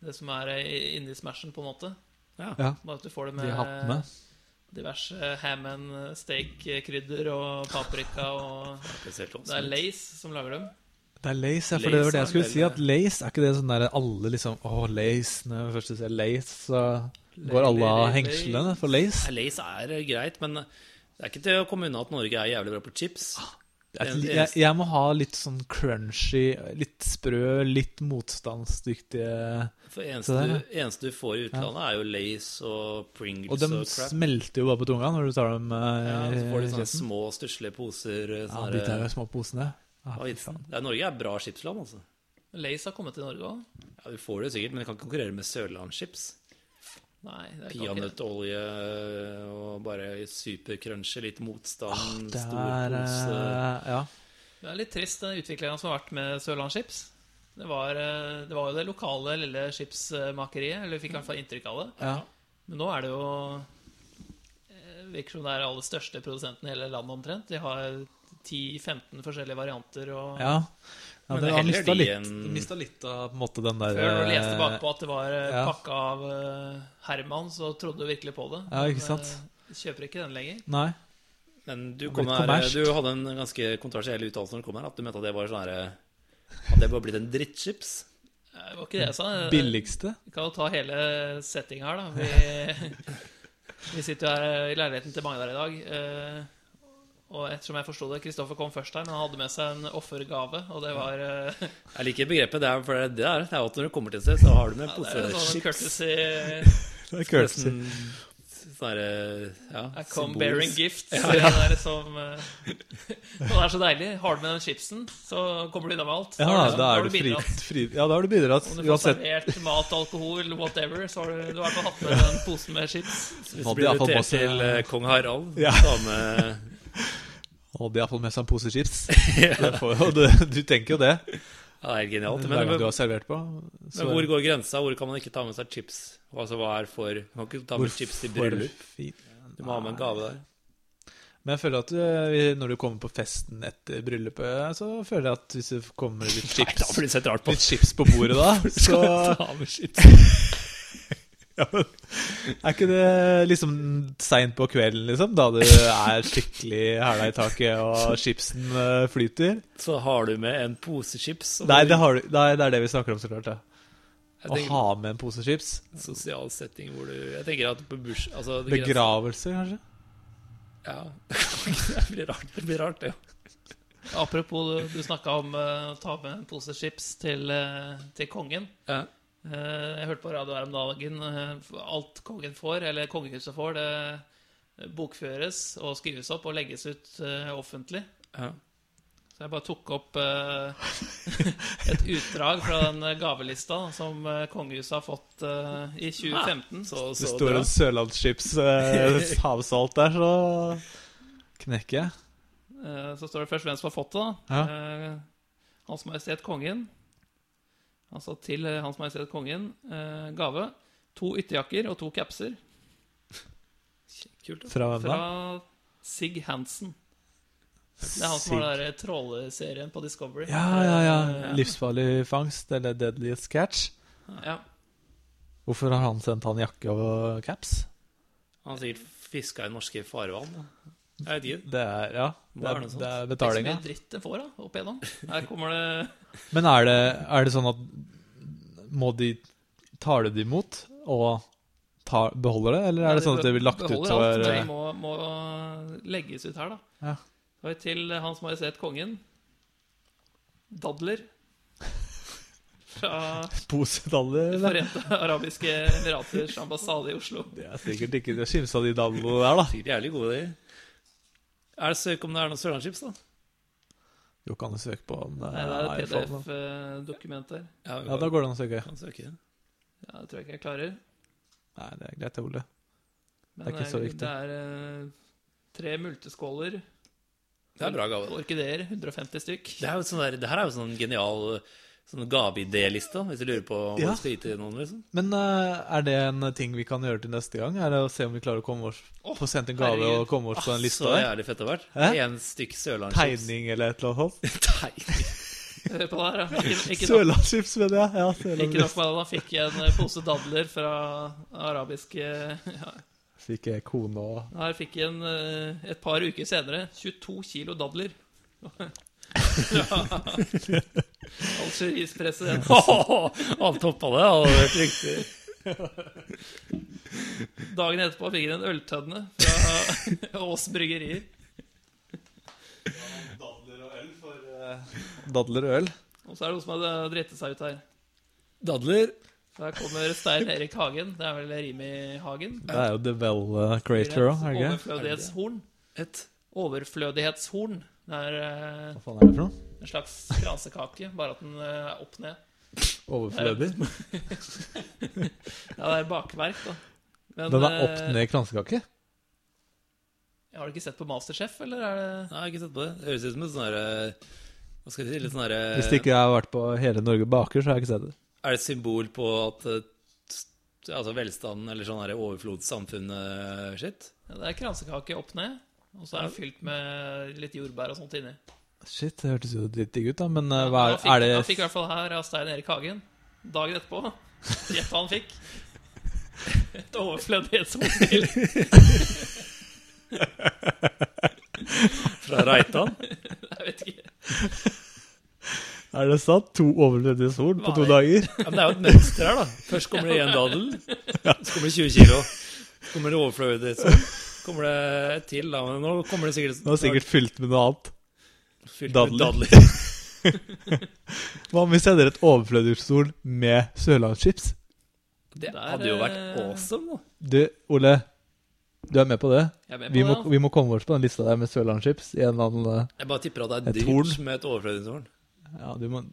Speaker 1: Det som er eh, inni smashen, på en måte.
Speaker 3: Ja.
Speaker 1: Bare at du får det
Speaker 3: De
Speaker 2: eh,
Speaker 3: hattene.
Speaker 1: med diverse ham and steak-krydder og paprika og
Speaker 2: Det ser helt
Speaker 1: Det er
Speaker 2: åndssvakt ut.
Speaker 1: Lace som lager dem.
Speaker 3: Det er lace, ja, for
Speaker 2: Lace
Speaker 3: det var det
Speaker 2: er
Speaker 3: jeg skulle
Speaker 2: veldig-
Speaker 3: si. At lace, er ikke det sånn der alle liksom Å, lace. Når jeg først ser lace, så går alle av
Speaker 1: Lace.
Speaker 3: hengslene for lace.
Speaker 2: Ja, Lace er eh, greit, men det er ikke til å komme unna at Norge er jævlig bra på chips.
Speaker 3: Ah, Jeg,
Speaker 2: Det
Speaker 3: jeg,
Speaker 2: eneste-
Speaker 3: jeg må ha litt sånn crunchy, litt sprø, litt motstandsdyktige
Speaker 2: For eneste,
Speaker 3: Det der,
Speaker 2: du, eneste du får i utlandet, er jo Lace og Pringles
Speaker 3: Og
Speaker 2: og,
Speaker 3: de
Speaker 2: crap.
Speaker 3: smelter jo bare på tunga når du tar dem eh,
Speaker 2: Ja, så får
Speaker 3: i
Speaker 2: du sånne
Speaker 3: kjeften.
Speaker 2: små, stusslige poser. eh,
Speaker 3: Ja,
Speaker 2: Sånne
Speaker 3: de tar jo små posene. Ja,
Speaker 2: Av
Speaker 3: fy
Speaker 2: Ibsen.
Speaker 3: faen.
Speaker 2: Det er Norge er bra chipsland, altså.
Speaker 1: Lace har kommet til Norge òg.
Speaker 2: Ja, Du får det jo sikkert, men det kan ikke konkurrere med Sørlandschips.
Speaker 1: Nei, det er ikke det.
Speaker 2: Peanøttolje eh, og bare supercrunchy, litt motstand,
Speaker 3: Ah, Det
Speaker 2: stor
Speaker 3: er
Speaker 2: pose.
Speaker 3: eh, Ja.
Speaker 1: Det er litt trist, den utviklinga som har vært med Sørlandschips. Det var, eh, det var jo det lokale lille chipsmakeriet, eller vi fikk i hvert fall inntrykk av det.
Speaker 3: ja.
Speaker 1: Men nå er det jo eh, Virker som det er aller største produsenten i hele landet omtrent. De har 10-15 forskjellige varianter. Og
Speaker 3: Ja. ja
Speaker 2: Men
Speaker 3: det,
Speaker 2: det
Speaker 3: han
Speaker 2: heller
Speaker 3: mista
Speaker 2: de
Speaker 3: litt,
Speaker 2: enn-
Speaker 3: mista litt av på en måte den der
Speaker 1: før når du
Speaker 3: eh,
Speaker 1: leste bakpå at det var eh,
Speaker 3: ja.
Speaker 1: pakka av eh, Herman, så trodde du virkelig på det.
Speaker 3: Ja,
Speaker 1: Men,
Speaker 3: ikke sant?
Speaker 1: eh, Kjøper ikke den lenger.
Speaker 3: Nei.
Speaker 2: Men du,
Speaker 3: Det
Speaker 2: kom
Speaker 3: blir
Speaker 2: her,
Speaker 3: kommersielt.
Speaker 2: du hadde en ganske kontroversiell uttalelse når du kom her, at du mente at det var sånn herre At det bare blitt en drittchips.
Speaker 1: Eh, Det var ikke det jeg sa. Jeg-
Speaker 3: Billigste?
Speaker 1: Vi kan jo ta hele settinga her, da. Vi, vi sitter jo her eh, i leiligheten til Magnar i dag. eh, Og ettersom jeg forsto det Kristoffer kom først her, men han hadde med seg en offergave. Og det var eh,
Speaker 2: Jeg liker begrepet, det er, for det er det er, det er jo at når du kommer til et sted, så har du med en
Speaker 1: ja, det
Speaker 2: pose
Speaker 1: er jo sånn
Speaker 2: chips.
Speaker 1: courtesy
Speaker 3: Det er
Speaker 2: Nesten sånn herre ja,
Speaker 1: I come
Speaker 2: symbolisk.
Speaker 1: bearing gifts. Det er liksom eh, Og det er så deilig. Har du med den chipsen, så kommer du unna med alt.
Speaker 3: Ja,
Speaker 1: Har
Speaker 3: da
Speaker 1: har
Speaker 3: er du fri,
Speaker 1: bidratt.
Speaker 3: fri Ja, da har du bidratt.
Speaker 1: Om du får
Speaker 3: Uansett.
Speaker 1: servert mat, alkohol, whatever, så har du, du har i hvert fall hatt med den posen med chips.
Speaker 2: Hvis
Speaker 3: Hadde
Speaker 2: du blir
Speaker 3: iallfall
Speaker 2: invitert
Speaker 3: masse-
Speaker 2: til eh, kong Harald, eh,
Speaker 3: Ja.
Speaker 2: ta med
Speaker 3: Og de har fått med seg en sånn pose chips. Det får jo- Du, du tenker jo det.
Speaker 2: Ja, det er helt genialt.
Speaker 3: Hver gang
Speaker 2: Men,
Speaker 3: du har servert på. så-
Speaker 2: men hvor går grensa? Hvor kan man ikke ta med seg chips? Altså, hva er for Man kan ikke ta med
Speaker 3: Hvor
Speaker 2: chips til
Speaker 3: får
Speaker 2: bryllup.
Speaker 3: fint.
Speaker 2: Du må ha med en gave der.
Speaker 3: Men jeg føler at eh, når du kommer på festen etter bryllupet, så føler jeg at hvis det kommer litt
Speaker 2: Nei, da
Speaker 3: chips,
Speaker 2: blir det sett rart på.
Speaker 3: litt chips på bordet da, så
Speaker 2: Ta med chips.
Speaker 3: ja, men, Er ikke det liksom seint på kvelden, liksom? Da du er skikkelig hæla i taket, og chipsen eh, flyter?
Speaker 2: Så har du med en pose chips. og-
Speaker 3: Nei det, har du, nei, det er det vi snakker om, så klart. Ja.
Speaker 2: Jeg
Speaker 3: Å
Speaker 2: tenker
Speaker 3: ha med en pose chips.
Speaker 2: en Sosial setting hvor du Jeg tenker at på burs... Altså, det grenser-
Speaker 3: Begravelse, kanskje?
Speaker 2: Ja. det blir rart, det. blir rart, det.
Speaker 1: Apropos, du, du snakka om eh, å ta med en pose chips til, eh, til kongen.
Speaker 2: Ja.
Speaker 1: Eh, jeg hørte på radio her om dagen eh, alt kongen får, eller kongehuset får, det eh, bokføres og skrives opp og legges ut eh, offentlig.
Speaker 2: Ja.
Speaker 1: Så jeg bare tok opp eh, et utdrag fra den eh, gavelista som eh, kongehuset har fått eh, i 2015.
Speaker 2: Så,
Speaker 3: Det
Speaker 2: så
Speaker 3: står
Speaker 2: bra.
Speaker 3: en sørlandschips eh, havsalt der, så knekker jeg.
Speaker 1: Eh, Så står det først hvem som har fått det. da. Eh, Hans Majestet Kongen. Altså til eh, Hans Majestet Kongen eh, gave. To ytterjakker og to capser
Speaker 2: Kult, da.
Speaker 3: Fra hvem da?
Speaker 1: fra Sig Hansen. Det er han som har den der tråleserien på Discovery.
Speaker 3: Ja, ja, ja.
Speaker 1: Eh,
Speaker 3: Livsfarlig fangst, eller deadliest catch.
Speaker 1: ja.
Speaker 3: Hvorfor har han sendt han jakke og caps?
Speaker 2: Han har sikkert fiska i norske farvann. da. Jeg vet ikke.
Speaker 3: Det er, ja,
Speaker 2: Hva
Speaker 3: det
Speaker 2: er
Speaker 3: er,
Speaker 2: det sånt?
Speaker 3: det er
Speaker 1: Det er ikke så
Speaker 3: betalinga.
Speaker 1: mye dritt det får da, opp igjennom. Her kommer det
Speaker 3: Men er det, er det sånn at må de Tar det de imot og tar, beholder det, eller er det sånn at det blir lagt ut
Speaker 1: Beholder alt,
Speaker 3: for
Speaker 1: men det må, må legges ut her, da.
Speaker 3: Ja.
Speaker 1: Så har vi til Hans Majestet Kongen. Dadler. fra
Speaker 3: Posedaljer, eh, eller?
Speaker 1: Forente arabiske emiraters ambassade i Oslo.
Speaker 3: Det er sikkert ikke det skimsa de dallene der, da.
Speaker 2: Sikkert jævlig gode, de. Er det søk om det er noen Sørlandschips, da?
Speaker 3: Jo, kan du søke på en eh,
Speaker 1: Nei, det er et
Speaker 3: iPhone? da.
Speaker 1: PDF-dokument der.
Speaker 2: vi
Speaker 3: Ja, da går det an å søke.
Speaker 2: kan søke.
Speaker 1: Ja, det tror jeg ikke jeg klarer.
Speaker 3: Nei, det er greit, det, Ole.
Speaker 1: Men
Speaker 3: Det er ikke så viktig.
Speaker 1: Det er eh, tre multeskåler
Speaker 2: Det er bra gave.
Speaker 1: og orkideer. 150 stykk.
Speaker 2: Det, er jo sånn der, det her er jo sånn genial sånn gaveidé-liste, hvis du lurer på hva
Speaker 3: Ja.
Speaker 2: du skal gi til noen. liksom.
Speaker 3: Men eh, er det en ting vi kan gjøre til neste gang? Er det å se om vi klarer å komme oss få sendt en gave
Speaker 1: herregud.
Speaker 3: og komme oss på en liste?
Speaker 2: Så
Speaker 3: der?
Speaker 2: jævlig fett det har vært.
Speaker 3: Hæ?
Speaker 2: Én stykk Sørlandschips.
Speaker 3: Tegning eller et eller annet sånt?
Speaker 2: Tegning.
Speaker 1: Hør på det her, da. Ikke, ikke, nok,
Speaker 3: Sørlandschips, mener jeg. Ja,
Speaker 1: ikke nok
Speaker 3: Sørlandschips.
Speaker 1: med det, da fikk jeg en eh, pose dadler fra arabiske ja,
Speaker 3: Fikk jeg kone og
Speaker 1: Her fikk jeg en eh, et par uker senere 22 kilo dadler. Fra Algeries president.
Speaker 2: Han toppa det. Han hadde vært riktig.
Speaker 1: Dagen etterpå fikk jeg en øltønne fra Ås bryggerier.
Speaker 3: Dadler og øl for eh, Dadler og øl?
Speaker 1: Og så er det noen som har driti seg ut her.
Speaker 2: Dadler.
Speaker 1: Der kommer Stein Erik Hagen. Det er vel Rimi Hagen?
Speaker 3: Det er jo The Well eh, Creator òg, er det ikke?
Speaker 1: Overflødighetshorn.
Speaker 2: Et
Speaker 1: Overflødighetshorn. Det er eh,
Speaker 3: Hva faen er det for noe?
Speaker 1: en slags kransekake, bare at den eh, er opp ned.
Speaker 3: Overflødig?
Speaker 1: Ja, det er bakverk, da. Men,
Speaker 3: Den er opp
Speaker 1: eh,
Speaker 3: ned kransekake?
Speaker 1: Har du ikke sett på Masterchef, eller er det
Speaker 2: Nei, jeg har ikke sett på det. Det høres ut som en sånn herre Hva skal vi si? Litt sånn herre
Speaker 3: Hvis
Speaker 1: eh,
Speaker 3: det ikke jeg har vært på Hele Norge baker, så har jeg ikke sett det.
Speaker 2: eh, Er det et symbol på at eh, t- Altså velstanden eller sånn herre overflodssamfunnet eh, sitt?
Speaker 1: Ja, Det er kransekake opp ned, og så er den fylt med litt jordbær og sånt inni.
Speaker 3: Shit, det hørtes jo litt digg ut, da, men eh, hva
Speaker 1: Han fikk,
Speaker 3: er, er
Speaker 1: han fikk i
Speaker 3: det
Speaker 1: hvert fall her av Stein Erik Hagen dagen etterpå. Gjett hva han fikk. Et overflødighetshotell.
Speaker 2: Fra Reitan?
Speaker 1: Jeg vet ikke.
Speaker 3: Er det sant? To overflødige sol på to dager?
Speaker 2: Ja, men det er jo et mønster her, da. Først kommer det én daddel, så kommer det 20 kilo. Så kommer det overflødig, så kommer det et til. Da. Men nå kommer det sikkert,
Speaker 3: Den er sikkert fylt med noe annet.
Speaker 2: fylt med
Speaker 3: dadler. Hva om vi sender et overflødig sol med sørlandschips?
Speaker 2: Det
Speaker 1: Der,
Speaker 2: hadde jo vært
Speaker 1: eh,
Speaker 2: awesome. Da.
Speaker 3: Du, Ole, du er med på det?
Speaker 1: Jeg er med på
Speaker 3: Vi må,
Speaker 1: det. da.
Speaker 3: vi må komme oss på den lista der med sørlandschips i en eller annen eh,
Speaker 2: Jeg bare tipper at det
Speaker 3: Et
Speaker 2: er dyrt
Speaker 3: horn.
Speaker 2: med et overflødighetshorn.
Speaker 3: Ja, du må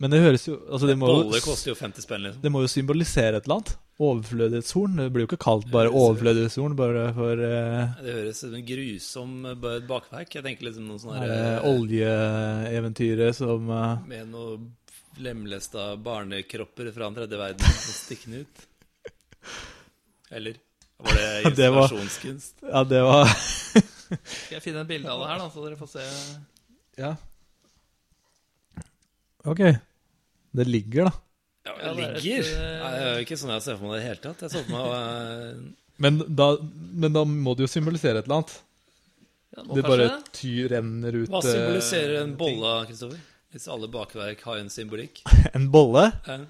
Speaker 3: Men det høres jo altså det, må
Speaker 2: Bolle
Speaker 3: jo,
Speaker 2: koster jo 50 spenn, liksom.
Speaker 3: det må jo symbolisere et eller annet. Overflødighetshorn. Det blir jo ikke kalt bare overflødighetshorn bare for eh,
Speaker 2: Det høres ut som en grusom eh, ba- bakverk. Jeg tenker liksom noen sånne
Speaker 3: er det
Speaker 2: her, eh,
Speaker 3: oljeeventyret som eh,
Speaker 2: med noen lemlesta barnekropper fra den tredje verden som stikkende ut. Eller var det
Speaker 3: Det var-
Speaker 2: installasjonskunst?
Speaker 3: Ja, det var
Speaker 1: Skal jeg finne et bilde av det her, da, så dere får se.
Speaker 3: Ja. OK. Det ligger, da.
Speaker 2: Ja,
Speaker 1: Ja, det er et,
Speaker 2: ligger?
Speaker 1: eh,
Speaker 2: Nei, det er jo ikke sånn jeg ser for meg det i det hele tatt. Jeg så for meg eh,
Speaker 3: Men da, men da må det jo symbolisere et eller annet.
Speaker 1: Ja, nå
Speaker 3: Det
Speaker 1: kanskje
Speaker 3: bare
Speaker 1: det?
Speaker 3: ty renner ut
Speaker 2: Hva
Speaker 3: eh,
Speaker 2: symboliserer en bolle, Kristoffer? Hvis alle bakverk har en symbolikk?
Speaker 3: En bolle?
Speaker 2: Eh,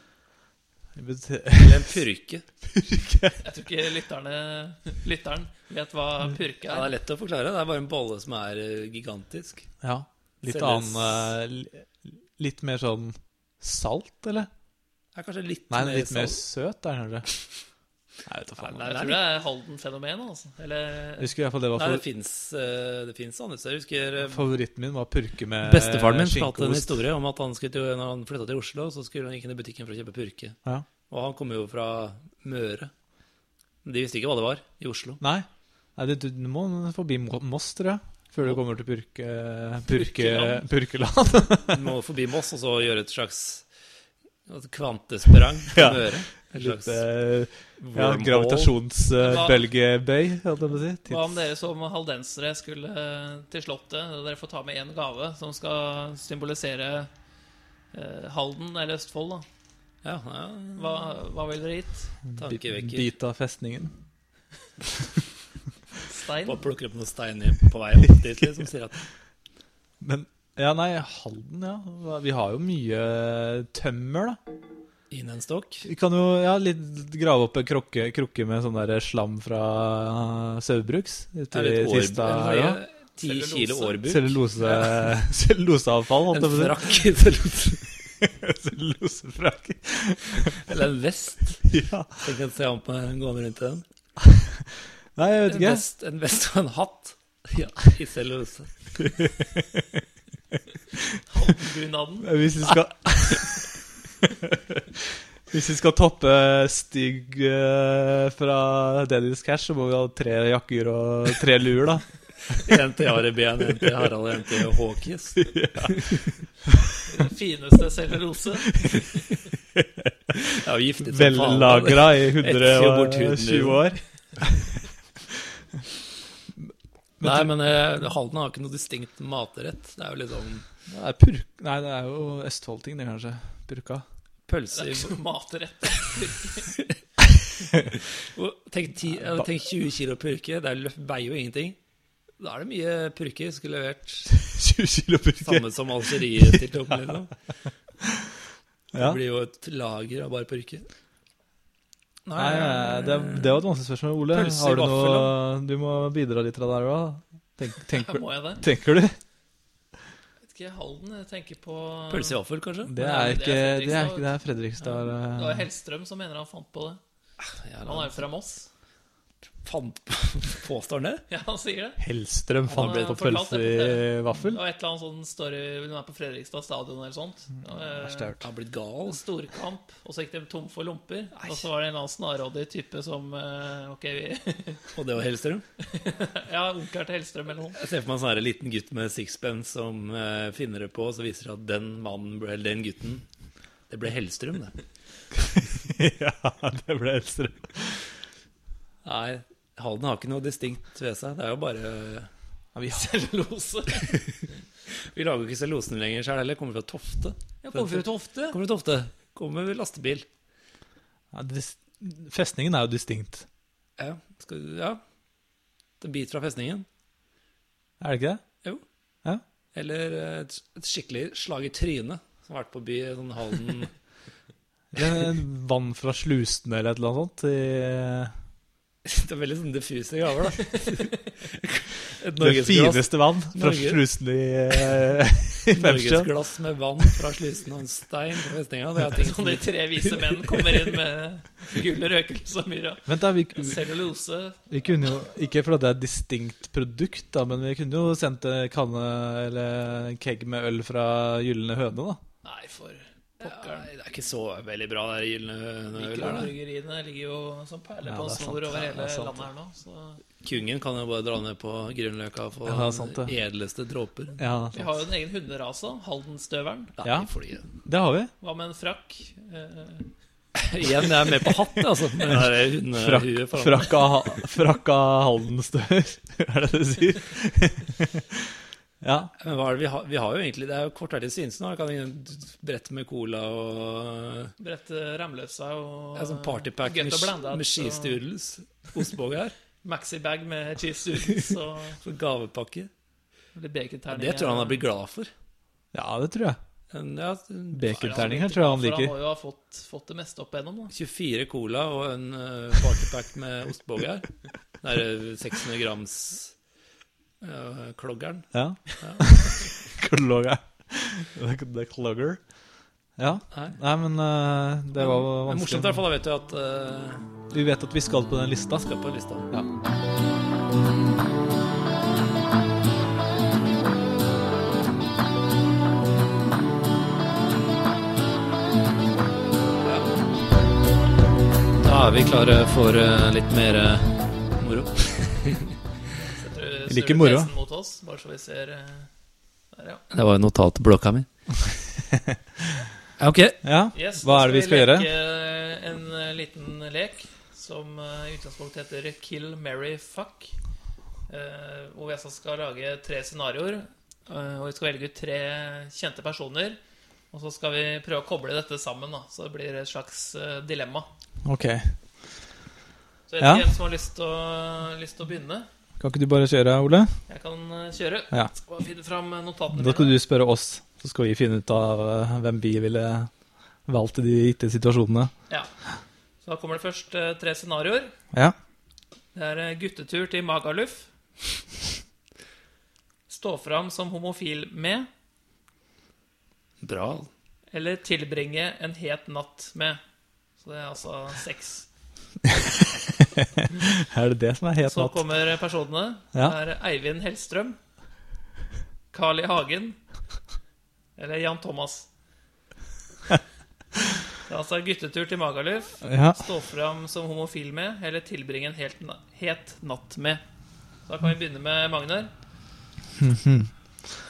Speaker 3: Det betyr-
Speaker 2: Eller en purke?
Speaker 1: Jeg tror ikke lytterne, lytteren vet hva purke
Speaker 2: Ja, det
Speaker 1: er.
Speaker 2: er lett å forklare. Det er bare en bolle som er eh, gigantisk.
Speaker 3: Ja. Litt
Speaker 2: Selges-
Speaker 3: annen eh, li- Litt mer sånn salt, eller?
Speaker 2: Det er kanskje litt sånn-
Speaker 3: Nei, litt mer
Speaker 2: salt.
Speaker 3: søt er den kanskje. Nei, vet du faen.
Speaker 2: Nei,
Speaker 1: Jeg
Speaker 2: det er
Speaker 1: tror det er Halden-fenomenet, altså.
Speaker 3: Jeg
Speaker 1: Eller
Speaker 3: husker i hvert fall det var
Speaker 2: Nei, det eh,
Speaker 3: favor
Speaker 2: fins andre steder. Jeg husker eh,
Speaker 3: favoritten min var purke med
Speaker 2: Bestefaren min fortalte en
Speaker 3: skinkeost.
Speaker 2: historie om at han skulle til, når han flytta til Oslo, så skulle han gikk han i butikken for å kjøpe purke.
Speaker 3: Ja.
Speaker 2: Og han kommer jo fra Møre. De visste ikke hva det var i Oslo.
Speaker 3: Nei, Nei du, du må forbi Mo- Moss, tror jeg, før du kommer til purke, purke,
Speaker 1: Purkeland.
Speaker 3: Purkeland.
Speaker 2: Du må forbi Moss og så gjøre et slags kvantesprang til
Speaker 3: Ja.
Speaker 2: Møre. Et
Speaker 3: Litt
Speaker 2: slags
Speaker 3: eh, ja,
Speaker 2: wormhole.
Speaker 1: Hva-
Speaker 3: gravitasjonsbølgebøy, holdt jeg på å si.
Speaker 1: hva om
Speaker 3: Tids.
Speaker 1: dere som haldensere skulle eh, til Slottet? og Dere får ta med én gave som skal symbolisere eh, Halden eller Østfold, da.
Speaker 2: Ja, ja,
Speaker 1: Hva, hva ville dere gitt?
Speaker 2: tankevekker.
Speaker 3: Bit av festningen.
Speaker 1: Stein?
Speaker 2: Bare plukker opp noen steiner på vei opp dit, liksom. Sier at
Speaker 3: Men ja, nei, Halden, ja. Hva- Vi har jo mye tømmer, da.
Speaker 2: inn en stokk.
Speaker 3: Vi kan jo ja, litt grave opp en krokke, krukke med sånn der slam fra uh, Saugbrugs.
Speaker 2: Det
Speaker 3: ute
Speaker 2: er
Speaker 3: i
Speaker 2: litt
Speaker 3: Tista
Speaker 2: årbuk.
Speaker 3: her, da.
Speaker 2: Ja. Ti
Speaker 1: Cellulose.
Speaker 2: kilo årbuk.
Speaker 3: Cellulose, celluloseavfall.
Speaker 2: En
Speaker 3: holdt jeg på å si.
Speaker 2: frakk i cellulose.
Speaker 3: Losefrakk.
Speaker 2: Eller en vest.
Speaker 3: Ja.
Speaker 2: Tenk å se han på den gående rundt i den.
Speaker 3: Nei, jeg vet
Speaker 2: En
Speaker 3: ikke.
Speaker 2: vest, en vest og en hatt. Ja, i cellulose.
Speaker 1: Bunaden.
Speaker 3: Hvis vi skal Hvis vi skal toppe Stig eh, fra Daddy's Cash, så må vi ha tre jakker og tre luer, da.
Speaker 2: En til Ari Behn, en til Harald, en til Håkis.
Speaker 1: Den fineste cellulose.
Speaker 2: Jeg har giftet som faen.
Speaker 3: Vellagra i
Speaker 2: Etser jo bort huden
Speaker 3: 120
Speaker 2: din.
Speaker 3: år.
Speaker 2: Nei, men eh, Halden har ikke noe distinkt matrett. Det er jo liksom
Speaker 3: Det er purk... Nei, det er jo Østfold-ting, det, kanskje. Purka.
Speaker 1: Det
Speaker 2: pølse
Speaker 1: er
Speaker 2: i
Speaker 1: ikke så matrett.
Speaker 2: Og Tenk, ti, ja, tenk 20 kilo purke. Det er lø- veier jo ingenting. Da er det mye purke. Skulle levert
Speaker 3: 20 kilo purke.
Speaker 2: samme som Algerie til toppen. Liksom.
Speaker 3: Ja.
Speaker 2: Det blir jo et lager av bare purke.
Speaker 3: Nei, det, det var et vanskelig spørsmål, Ole.
Speaker 2: Pølse i
Speaker 3: Har du
Speaker 2: vaffel,
Speaker 3: noe Du må bidra litt av der òg. Tenk, tenker,
Speaker 1: Må jeg det?
Speaker 3: tenker du?
Speaker 1: Vet ikke, Halden jeg tenker på
Speaker 2: Pølse i vaffel, kanskje?
Speaker 3: Det
Speaker 1: Nei,
Speaker 3: er
Speaker 1: det er
Speaker 3: ikke Det er,
Speaker 1: Fredrikstad.
Speaker 3: ikke, det er Fredrikstad.
Speaker 1: Det var
Speaker 3: eh,
Speaker 1: Hellstrøm som mener han fant på det.
Speaker 2: Ja,
Speaker 1: Han er jo fra Moss.
Speaker 2: Fant Påstår han det?
Speaker 1: Ja, han sier det.
Speaker 3: Hellstrøm
Speaker 1: Han
Speaker 3: fant
Speaker 1: har
Speaker 3: på
Speaker 1: fortalt
Speaker 3: pølse
Speaker 1: det på
Speaker 3: i
Speaker 1: Det
Speaker 3: vaffel?
Speaker 1: var et eller annet sånn story Hun er på Fredrikstad stadion eller sånt.
Speaker 3: Mm. Verst jeg har hørt.
Speaker 2: Han har blitt gal. altså,
Speaker 1: Storkamp, og så gikk de tom for lomper. Og så var det en eller annen snarrådig type som eh, Ok, vi
Speaker 2: Og det var Hellstrøm.
Speaker 1: Ja, onkelen til Hellstrøm eller noe.
Speaker 2: Jeg ser for meg en sånn her liten gutt med sixpence som eh, finner det på, og så viser det at den mannen, ble- eller den gutten, det ble Hellstrøm, det.
Speaker 3: ja, det ble Hellstrøm.
Speaker 2: Nei, Halden har ikke noe distinkt ved seg. Det er jo bare
Speaker 3: vi har
Speaker 1: Cellulose.
Speaker 2: Vi lager jo ikke cellosen lenger sjøl heller. Kommer fra Tofte.
Speaker 1: Jeg kommer fra Tofte.
Speaker 2: Kommer fra Tofte. Kommer med lastebil.
Speaker 3: ja, dis- Festningen er jo distinkt,
Speaker 2: Ja. Skal, ja. En bit fra festningen.
Speaker 3: er det ikke det?
Speaker 2: Eller eh, et, et skikkelig slag i trynet. Som har vært på by sånn Halden
Speaker 3: Det er Vann fra slusene eller et eller annet sånt? I,
Speaker 2: Det er veldig sånn diffuse gaver, da. Et
Speaker 3: det
Speaker 2: norgesglass
Speaker 3: fineste vann fra
Speaker 2: Norge.
Speaker 3: slusene i, eh, i Femstjøen.
Speaker 2: norgesglass med vann fra slusen og en stein på festninga. Det er ting
Speaker 1: Sånn
Speaker 2: som
Speaker 1: de tre vise menn kommer inn med gull, røkelse og myra.
Speaker 3: Vent, da. Vi,
Speaker 1: Cellulose.
Speaker 3: vi kunne jo Ikke fordi det er et distinkt produkt, da, men vi kunne jo sendt en kanne eller en keg med øl fra Gylne høne, da.
Speaker 1: Nei, for pokkeren.
Speaker 2: Nei, Det er ikke så veldig bra, det der gylne ølet.
Speaker 1: Mikrobryggeriene ligger jo som perler
Speaker 3: Ja,
Speaker 1: på en
Speaker 3: det er
Speaker 1: snor
Speaker 3: sant.
Speaker 1: over
Speaker 3: Ja, det
Speaker 1: hele
Speaker 3: er sant.
Speaker 1: landet her nå. Så
Speaker 2: Kungen kan jo bare dra ned på Grünerløkka og få
Speaker 3: Ja, det er sant, det.
Speaker 2: den edleste dråper.
Speaker 3: Ja,
Speaker 1: vi har jo en egen hunderase, da. Haldenstøveren.
Speaker 2: Nei,
Speaker 3: Ja.
Speaker 2: fordi
Speaker 3: det har vi.
Speaker 1: Hva med en frakk? Eh,
Speaker 2: Igjen, jeg er med på hatt, altså. Men det er
Speaker 3: Frakk,
Speaker 2: hundehuet foran.
Speaker 3: frakka, frakka Haldenstøer, er det det du sier? ja.
Speaker 2: Men hva er det vi har? Vi har jo egentlig Det er jo kort vei til Svinesund. da. Kan ingen brette med cola og
Speaker 1: Brette Ramløsa og
Speaker 2: Det er sånn partypack
Speaker 1: Get
Speaker 2: med,
Speaker 1: a Blended,
Speaker 2: med
Speaker 1: og
Speaker 2: skistudels. Ostebåge her.
Speaker 1: Maxibag med cheese students og
Speaker 2: Så gavepakke.
Speaker 1: litt baconterninger.
Speaker 2: Det tror jeg han har blitt glad for.
Speaker 3: ja, det tror jeg.
Speaker 2: En, ja,
Speaker 3: Baconterninger tror jeg
Speaker 1: For han
Speaker 3: han liker.
Speaker 1: må jo ha fått, fått det meste opp igjennom, da.
Speaker 2: 24 cola og en eh, partypack med ostebåge her. Det er eh, 600 grams eh, kloggeren.
Speaker 3: Ja. Klogger. The Clogger. Ja.
Speaker 2: Nei.
Speaker 3: Nei, men eh, det var jo
Speaker 2: Men morsomt i hvert
Speaker 3: vanskelig.
Speaker 2: fall, da vet du at eh,
Speaker 3: Vi vet at vi skal på den lista.
Speaker 2: Skal på lista.
Speaker 3: Ja.
Speaker 2: Da er vi klare for eh, litt mer eh, moro.
Speaker 1: Setter du
Speaker 3: Jeg liker
Speaker 1: snur
Speaker 3: moro.
Speaker 1: PC-en mot oss, bare så vi ser eh, Der, ja.
Speaker 2: Det var jo notatblokka mi. Ja, ok.
Speaker 3: Ja.
Speaker 1: Yes,
Speaker 3: Hva er det vi skal gjøre?
Speaker 1: Da skal vi leke en eh, liten lek som eh, i utgangspunktet heter Kill, marry, fuck. Eh, Hvor vi altså skal lage tre scenarioer. eh, Og vi skal velge ut tre kjente personer. Og så skal vi prøve å koble dette sammen, da. så det blir et slags eh, dilemma.
Speaker 3: Ok.
Speaker 1: Så jeg vet
Speaker 3: Ja.
Speaker 1: ikke hvem som har lyst til å, lyst til å begynne.
Speaker 3: Kan ikke du bare kjøre, Ole?
Speaker 1: Jeg kan eh, kjøre.
Speaker 3: Ja.
Speaker 1: Skal bare finne fram eh, notatene
Speaker 3: Da skal du spørre oss, så skal vi finne ut av eh, hvem vi ville valgt i de gitte situasjonene.
Speaker 1: Ja. Så da kommer det først eh, tre scenarioer.
Speaker 3: Ja.
Speaker 1: Det er eh, guttetur til Magaluf. Stå fram som homofil med.
Speaker 2: Bra.
Speaker 1: Eller tilbringe en het natt med. Så det er altså sex.
Speaker 3: Er det det som er helt
Speaker 1: Så
Speaker 3: natt?
Speaker 1: kommer personene. Det
Speaker 3: Ja.
Speaker 1: er Eivind Hellstrøm. Carl I. Hagen. Eller Jan Thomas. Det er altså guttetur til Magaluf.
Speaker 3: Ja.
Speaker 1: Stå fram som homofil med, eller tilbringe en helt na het natt med. Så da kan vi begynne med Magnar. Hvem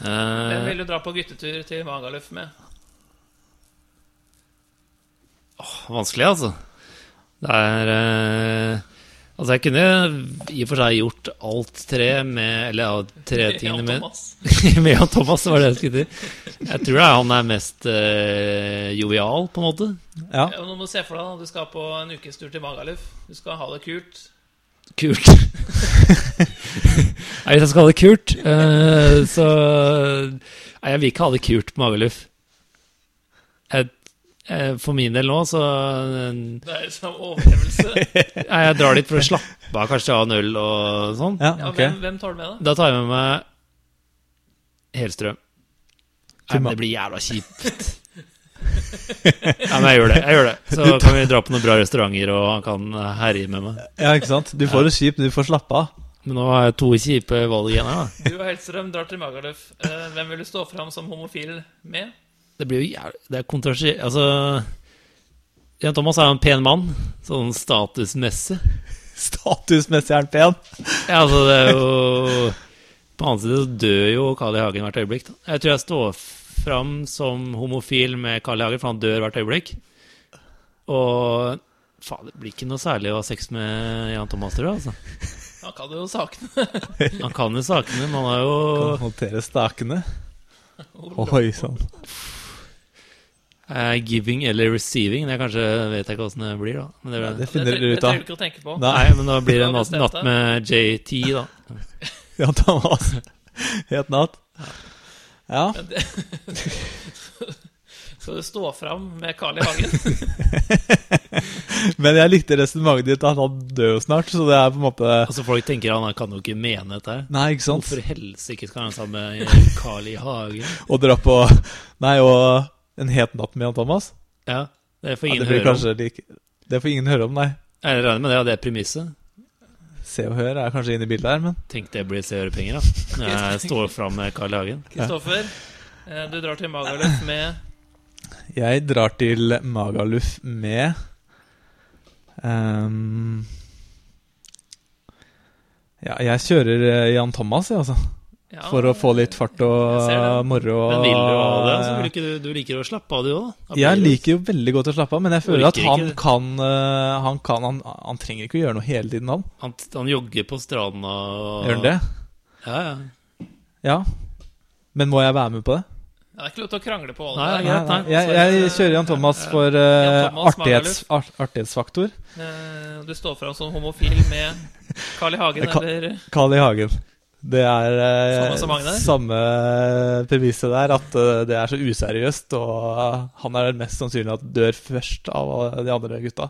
Speaker 2: Eh,
Speaker 1: vil du dra på guttetur til Magaluf med?
Speaker 2: vanskelig, altså. Det er eh, Altså, jeg kunne i og for seg gjort alt tre med Eller ja, tre tingene
Speaker 1: Jan
Speaker 2: med
Speaker 1: Thomas.
Speaker 2: med Jan Thomas, det var det jeg skulle til. Jeg tror det er han er mest eh, jovial, på en måte.
Speaker 3: ja.
Speaker 1: Ja, nå må du se for deg at du skal på en ukestur til Magaluf. Du skal ha det kult.
Speaker 2: Kult. Nei, hvis jeg skal ha det kult, eh, så Nei, jeg vil ikke ha det kult på Magaluf. Jeg- jeg- For min del nå, så
Speaker 1: Det er jo som overlevelse.
Speaker 2: eh, Nei, Jeg drar dit for å slappe av, kanskje ha en øl og sånn.
Speaker 3: ja,
Speaker 1: Ja,
Speaker 3: ok.
Speaker 1: hvem, hvem tar du med, da?
Speaker 2: Da tar jeg med meg Helstrøm. Nei,
Speaker 3: Til Ma-
Speaker 2: men det blir jævla kjipt. Nei, men jeg gjør det. jeg gjør det Så kan vi dra på noen bra restauranter, og han kan eh, herje med meg.
Speaker 3: Ja, ikke sant? Du får det kjipt, men du får slappe av.
Speaker 2: Men nå har jeg to kjipe valg igjen her, da.
Speaker 1: Du og Hellstrøm drar til Magaluf. Eh, Hvem vil du stå fram som homofil med?
Speaker 2: Det blir jo jævlig Det er kontroversielt Altså Jan Thomas er jo en pen mann, sånn statusmessig.
Speaker 3: Statusmessig er den pen.
Speaker 2: Ja, altså, det er jo På den annen side så dør jo Carl I. Hagen hvert øyeblikk. Da. Jeg tror jeg står fram som homofil med Carl I. Hagen, for han dør hvert øyeblikk. Og faen, det blir ikke noe særlig å ha sex med Jan Thomas, tror jeg. Altså.
Speaker 1: Han kan jo sakene.
Speaker 2: Han kan jo sakene, men han er jo
Speaker 3: Kan håndtere stakene. Oi sånn. sann.
Speaker 2: eh, giving eller receiving. Det er kanskje vet jeg ikke åssen det blir, da. Men det,
Speaker 3: Ja,
Speaker 2: blir-
Speaker 3: det finner
Speaker 1: tre-
Speaker 3: dere ut
Speaker 1: Det trenger
Speaker 3: av.
Speaker 1: du ikke å tenke på.
Speaker 3: Nei,
Speaker 2: Nei, men da blir det
Speaker 1: Da
Speaker 2: en natt,
Speaker 1: bestemte
Speaker 2: natt
Speaker 1: jeg.
Speaker 2: med JT, da.
Speaker 3: Jan Thomas. Het natt. Ja.
Speaker 1: Men det- Skal du stå fram med Carl I. Hagen?
Speaker 3: Men jeg likte resonnementet ditt, at han dør jo snart, så det er på en måte
Speaker 2: Altså Folk tenker han kan jo ikke mene dette. her
Speaker 3: Nei, ikke sant?
Speaker 2: Hvorfor i helsike skal han sammen med Carl I. Hagen?
Speaker 3: Å dra på Nei, og en het natt med Jan Thomas?
Speaker 2: Ja, Det får
Speaker 3: Ja,
Speaker 2: ingen
Speaker 3: det blir
Speaker 2: høre om.
Speaker 3: kanskje like Det får ingen høre om, nei.
Speaker 2: Jeg regner med det, ja, det er premisset.
Speaker 3: Se og Hør er kanskje inne i bildet her, men
Speaker 2: Tenk det blir se og høre-penger, da. Når jeg står fram med Carl I. Hagen.
Speaker 1: Kristoffer, eh, du drar til Magaluf med
Speaker 3: jeg drar til Magaluf med ehm, Ja, jeg kjører eh, Jan Thomas, jeg, altså.
Speaker 1: ja,
Speaker 3: For å få litt fart
Speaker 1: jeg ser
Speaker 3: og
Speaker 1: det.
Speaker 3: moro. og-
Speaker 2: Men vil du ha det? Så vil du, ikke, du liker å slappe av, du òg, da. Da blir
Speaker 3: Jeg
Speaker 2: det-
Speaker 3: liker jo veldig godt å slappe av, men jeg føler at
Speaker 2: liker
Speaker 3: han
Speaker 2: ikke det.
Speaker 3: kan, eh, han kan han, han trenger ikke å gjøre noe hele tiden, han.
Speaker 2: Han, han jogger på stranda og
Speaker 3: Gjør han det?
Speaker 2: Ja, ja.
Speaker 3: Ja. Men må jeg være med på det?
Speaker 1: Ja, det er ikke lov til å krangle på
Speaker 2: Nei,
Speaker 1: alle.
Speaker 2: nei. greit,
Speaker 3: Jeg, jeg kjører Jan Thomas for eh,
Speaker 1: Jan Thomas,
Speaker 3: artighets, art, artighetsfaktor.
Speaker 1: Eh, Du står fram som homofil med Carl I. Hagen
Speaker 3: Jeg kan-
Speaker 1: eller
Speaker 3: Carl I. Hagen. Det er eh,
Speaker 1: Samme som Magnar?
Speaker 3: samme premisset der, at eh, det er så useriøst. Og eh, han er mest sannsynlig at dør først av alle de andre gutta.